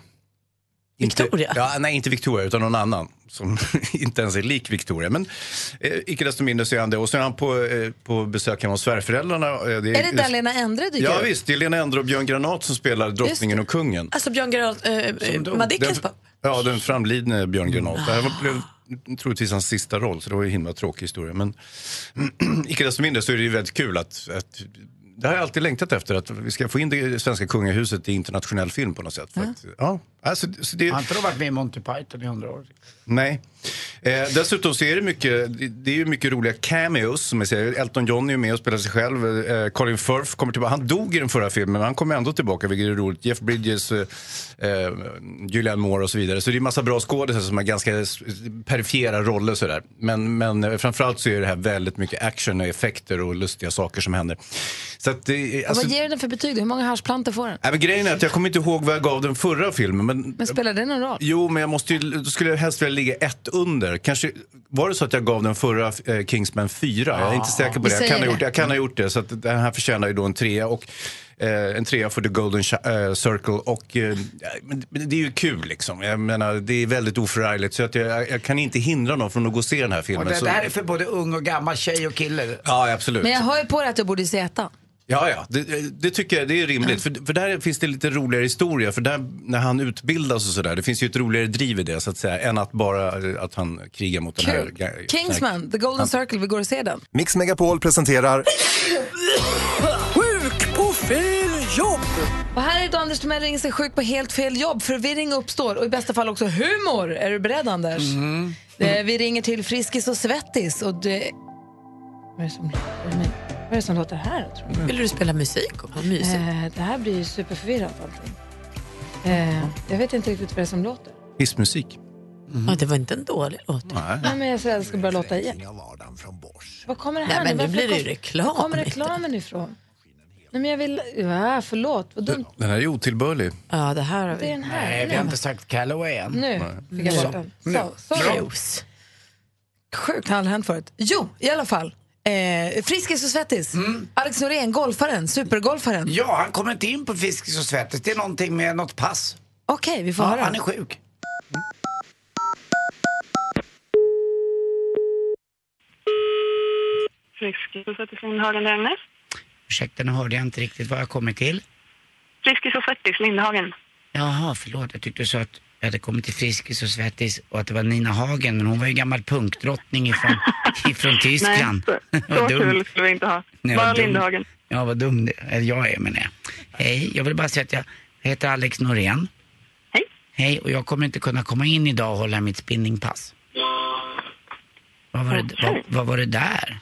Victoria? ja, nej, inte Victoria, utan någon annan som inte ens är lik Victoria. Men eh, icke desto mindre så är han det. Och så är han på, eh, på besök hemma hos svärföräldrarna. Eh, det
Är det där Lena Endre dyker
Ja
upp?
visst, det är Lena Endre och Björn Granat som spelar drottningen och kungen.
Alltså Björn Geralt, eh, eh, Madickens pappa.
Ja, den framlidne Björn Granat. Det här var- blev troligtvis hans sista roll, så det var ju en himla tråkig historia. Men icke desto mindre så är det ju väldigt kul att, att det har jag alltid längtat efter, att vi ska få in det svenska kungahuset i internationell film på något sätt. För att, ja, alltså, så det,
Har inte de varit med i Monty Python i hundra år?
Nej. Eh, dessutom så är det mycket, det- det är ju mycket roliga cameos. Som jag säger. Elton John är ju med och spelar sig själv. Eh, Colin Firth kommer tillbaka. Han dog i den förra filmen, men han kommer ändå tillbaka, vilket är roligt. Jeff Bridges, eh, eh, Julianne Moore och så vidare. Så det är massa bra skådespelare som har ganska s- perifera roller. Sådär. Men, men eh, framförallt så är det här väldigt mycket action och effekter och lustiga saker som händer. Så att det, är- alltså,
Vad ger den för betyg? då? Hur många haschplantor får den?
Nej, men grejen är att jag kommer inte ihåg vad jag gav den förra filmen. Men,
Men spelar det någon roll?
Jo, men jag måste ju, då skulle jag helst vilja ligga ett under. Kanske, var det så att jag gav den förra eh, Kingsman 4? Jag är inte säker på
Vi
det. Jag kan,
säger
ha gjort,
det.
jag kan ha gjort det. Så att den här förtjänar ju då en trea. Och, eh, en trea för The Golden Sh- eh, Circle. Och, eh, men, men det är ju kul liksom. Jag menar, det är väldigt oförargligt. Så att jag, jag kan inte hindra någon från att gå och se den här
Och
filmen.
det,
så,
det här är för både ung och gammal, tjej och kille.
Ja, absolut.
Men jag hör ju på dig att jag borde se ettan.
Ja, ja. Det, det tycker jag det är rimligt. För, för där finns det lite roligare historia. För där, när han utbildas och sådär, det finns ju ett roligare driv i det så att säga. Än att bara eh, att han krigar mot den här...
Kul.
ga-
Kingsman, The Golden Circle, vi går och ser den.
Mix Megapol presenterar
Sjuk på fel jobb!
Och här är då Anders Timell ringer sig sjuk på helt fel jobb. Förvirring uppstår och i bästa fall också humor. Är du beredd Anders?
Mhm.
Eh, Vi ringer till Friskis och Svettis och det... Vad är det som, men, vad är det som låter här? Tror jag?
Vill du spela musik? Och vad mysigt.
Eh, det här blir ju superförvirrat allting. Eh, jag vet inte riktigt vad det är som låter.
Hissmusik.
Ja, det var inte en dålig låt.
Nej, men jag, säger, jag ska börja låta igen. Vad kommer det
Nej,
här
men nu
Varför
blir det ju
kom-
reklam.
Var kommer reklamen ifrån? Nej, men jag vill... Ja, förlåt, vad dumt.
Den här är otillbörlig.
Ja, det här har Mm.
Det är den här.
Nej, vi har inte sagt Calloway än.
Nu fick jag bort den. Så, sorry. Sjukt, det har aldrig hänt förut. Jo, i alla fall. Eh, Friskis och svettis.
Mm.
Alex Norén, golfaren, supergolfaren.
Ja, han kommer inte in på Fiskis och Svettis. Det är någonting med något pass.
Okej, vi får
Ja,
höra.
han är sjuk.
Lindhagen Dängnes.
Ursäkta, nu hörde jag inte riktigt vad jag kommit till.
Friskis och Svettis, Lindhagen.
Jaha, förlåt. Jag tyckte du sa att jag hade kommit till Friskis och Svettis och att det var Nina Hagen, men hon var ju gammal punkdrottning ifrån, ifrån Tyskland.
Nej, så, så
Vad dum.
kul skulle vi inte ha.
Nej, vad
Bara
dum.
Lindhagen.
Ja, vad dum det eller jag är menar jag. Hej, jag vill bara säga att jag heter Alex Norén.
Hej.
Hej, och jag kommer inte kunna komma in idag och hålla mitt spinningpass. Vad var det, vad, vad var det där?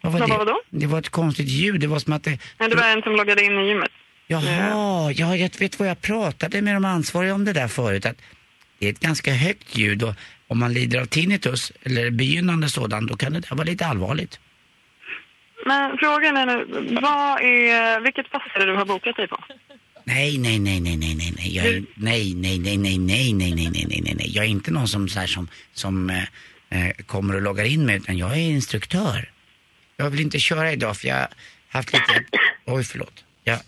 Vad
det?
var vadå?
Det var ett konstigt ljud, det var som att det...
Nej, det var en som loggade in i gymmet. Mm.
Jaha, ja, jag vet vad jag pratade med de ansvariga om det där förut. Att det är ett ganska högt ljud och om man lider av tinnitus, eller begynnande sådan, då kan det där vara lite allvarligt.
Men frågan är nu, vad är, vilket pass är det du har bokat dig på?
Nej, nej, nej, nej, nej, nej, nej, jag är, nej, nej, nej, nej, nej, nej, nej, nej, nej, nej, nej, jag är inte någon som så här som, som eh, eh, kommer och loggar in mig, utan jag är instruktör. Jag vill inte köra idag för jag har haft lite, oj förlåt, jag,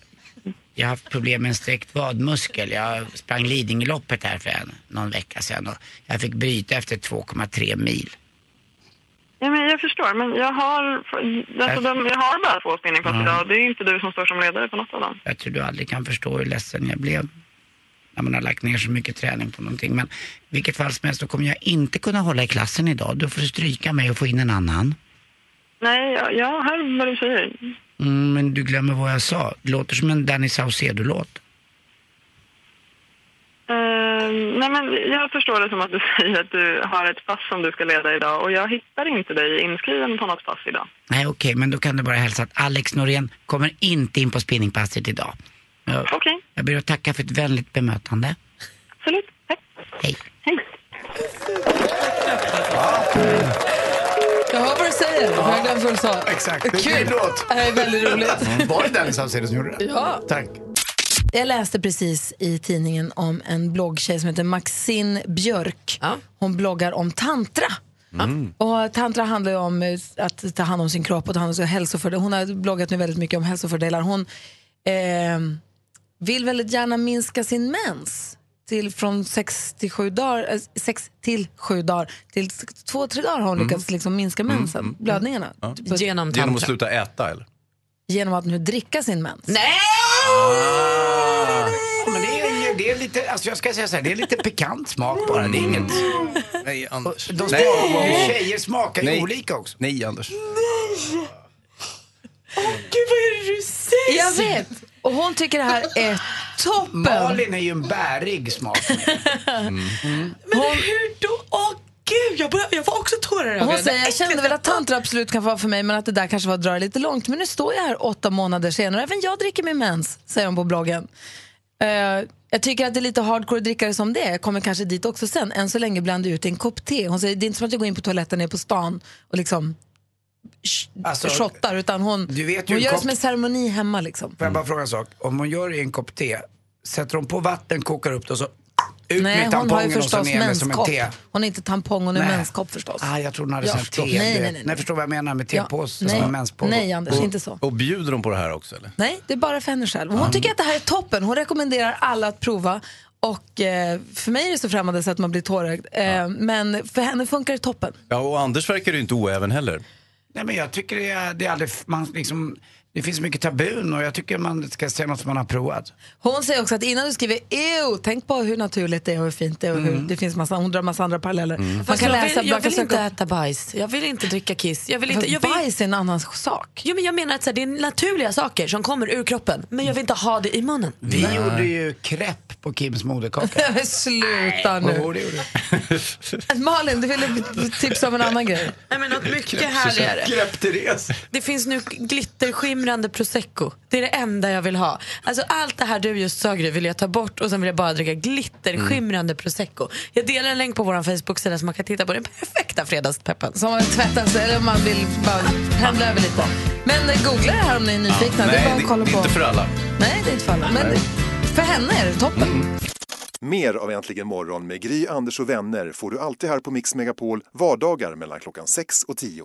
jag har haft problem med en sträckt vadmuskel. Jag sprang Lidingöloppet här för en, någon vecka sedan och jag fick bryta efter 2,3 mil.
Ja, men jag förstår, men jag har, alltså, de, jag har bara två spinningpass
Ja.
idag. Det är inte du som står som ledare på något av dem.
Jag tror du aldrig kan förstå hur ledsen jag blev när man har lagt ner så mycket träning på någonting. Men i vilket fall som helst, då kommer jag inte kunna hålla i klassen idag. Då får du stryka mig och få in en annan.
Nej, jag, jag hör vad du säger.
Mm, men du glömmer vad jag sa. Det låter som en Danny Saucedo-låt.
Eh, nej, men jag förstår det som att du säger att du har ett pass som du ska leda idag och jag hittar inte dig inskriven på något pass idag.
Nej, okej, men då kan du bara hälsa att Alex Norén kommer inte in på spinningpasset idag. Okej. Jag ber att tacka för ett vänligt bemötande.
Absolut.
Hej.
Jag hör vad du säger. Har jag glömt vad du sa?
Exakt.
Kul.
Det är en låt.
Det här är väldigt roligt.
Var det Dennis Saucedo som gjorde det?
Ja.
Tack.
Jag läste precis i tidningen om en bloggtjej som heter Maxine Björk. Hon bloggar om tantra.
Mm.
Och tantra handlar ju om eh, att ta hand om sin kropp och ta hand om sin hälsofördelar. Hon har bloggat nu väldigt mycket om hälsofördelar. Hon eh, vill väldigt gärna minska sin mens till från sex till sju dagar, eh, sex till sju dagar, till s- två, tre dagar har hon
Mm.
lyckats liksom minska mensen,
Mm, mm,
blödningarna.
Ja.
Typ att-
Genom att sluta äta eller?
Genom att nu dricka sin mens.
Nej!
Ah.
Men det är, det är lite, alltså jag ska säga så här, det är lite pikant smak bara. Det är
Mm.
inget...
Nej, Anders.
De
Nej.
smakar, tjejer smakar ju
Nej.
olika också.
Nej, Anders.
Gud, vad är det du säger? Jag vet. Och hon tycker det här är toppen.
Malin är ju en bärig smak.
Mm.
Mm.
Men hur då? Åh gud, jag, jag var också tårögd.
över
Hon
det
säger, jag kände väl att tantra absolut kan vara för mig men att det där kanske var att dra det lite långt. Men nu står jag här åtta månader senare även jag dricker min mens, säger hon på bloggen. Eh, jag tycker att det är lite hardcore att dricka det som det är. Jag kommer kanske dit också sen. Än så länge blandar jag ut i en kopp te. Hon säger, det är inte som att jag går in på toaletten nere på stan och liksom sh-
Alltså,
shottar utan hon,
du vet ju
hon
en
gör det
kopp-
som en ceremoni hemma liksom.
Får jag bara fråga en sak? Om hon gör det i en kopp te, sätter hon på vatten, kokar upp det och så ut
Nej, hon
med
har ju
tampongen och så
förstås
ner med som en
menskopp.
te?
Hon är inte tampong, hon är
Nej.
menskopp förstås.
Ah, jag trodde hon hade
Ja,
ja, te.
förstås. Nej, nej, nej, nej.
nej, förstår vad jag menar med
Ja,
tepåse
nej.
som en menspåse.
Nej, Anders,
Och-
inte så.
Och bjuder de på det här också eller?
Nej, det är bara för henne själv. Och Hon tycker att det här är toppen. Hon rekommenderar alla att prova. Och eh, för mig är det så främmande så att man blir tårögd. Eh, Men för henne funkar det toppen.
Ja, och Anders verkar ju inte oäven heller.
Nej men jag tycker det är, det är aldrig, man liksom, det finns mycket tabun och jag tycker man ska säga något som man har provat.
Hon säger också att innan du skriver EU, tänk på hur naturligt det är och hur fint det är. Och hur, det finns massa, hon drar massa andra paralleller. Man
Mm. Fast
kan
jag
läsa,
vill- jag
man kan
vill
söka
inte
upp-
äta bajs. Jag vill inte dricka kiss. Jag vill inte,
Fast
jag vill...
Bajs är en annan sak.
Jo, men jag menar att så här, det är naturliga saker som kommer ur kroppen. Men jag vill inte ha det i munnen.
Vi gjorde ju crepe på Kims moderkaka.
Men Sluta nu.
Jo, det gjorde vi.
Malin, du ville tipsa om en annan grej.
Nej, men något mycket härligare.
Grepp-Therese.
Det finns nu glitterskimrande prosecco. Det är det enda jag vill ha. Alltså allt det här du just sa Gry vill jag ta bort och sen vill jag bara dricka
Mm.
glitterskimrande prosecco. Jag delar en länk på vår Facebook-sida som man kan titta på. Den perfekta fredagspeppen.
Som man vill tvätta sig eller om man vill bara pendla över lite. Men eh, googla det här om ni är nyfikna. det är bara att kolla på.
inte för alla.
Mm.
Nej, det är inte för alla. Men det- för henne är det toppen.
Mer av Äntligen morgon med Gry, Anders och vänner får du alltid här på Mix Megapol vardagar mellan klockan 6 och 10.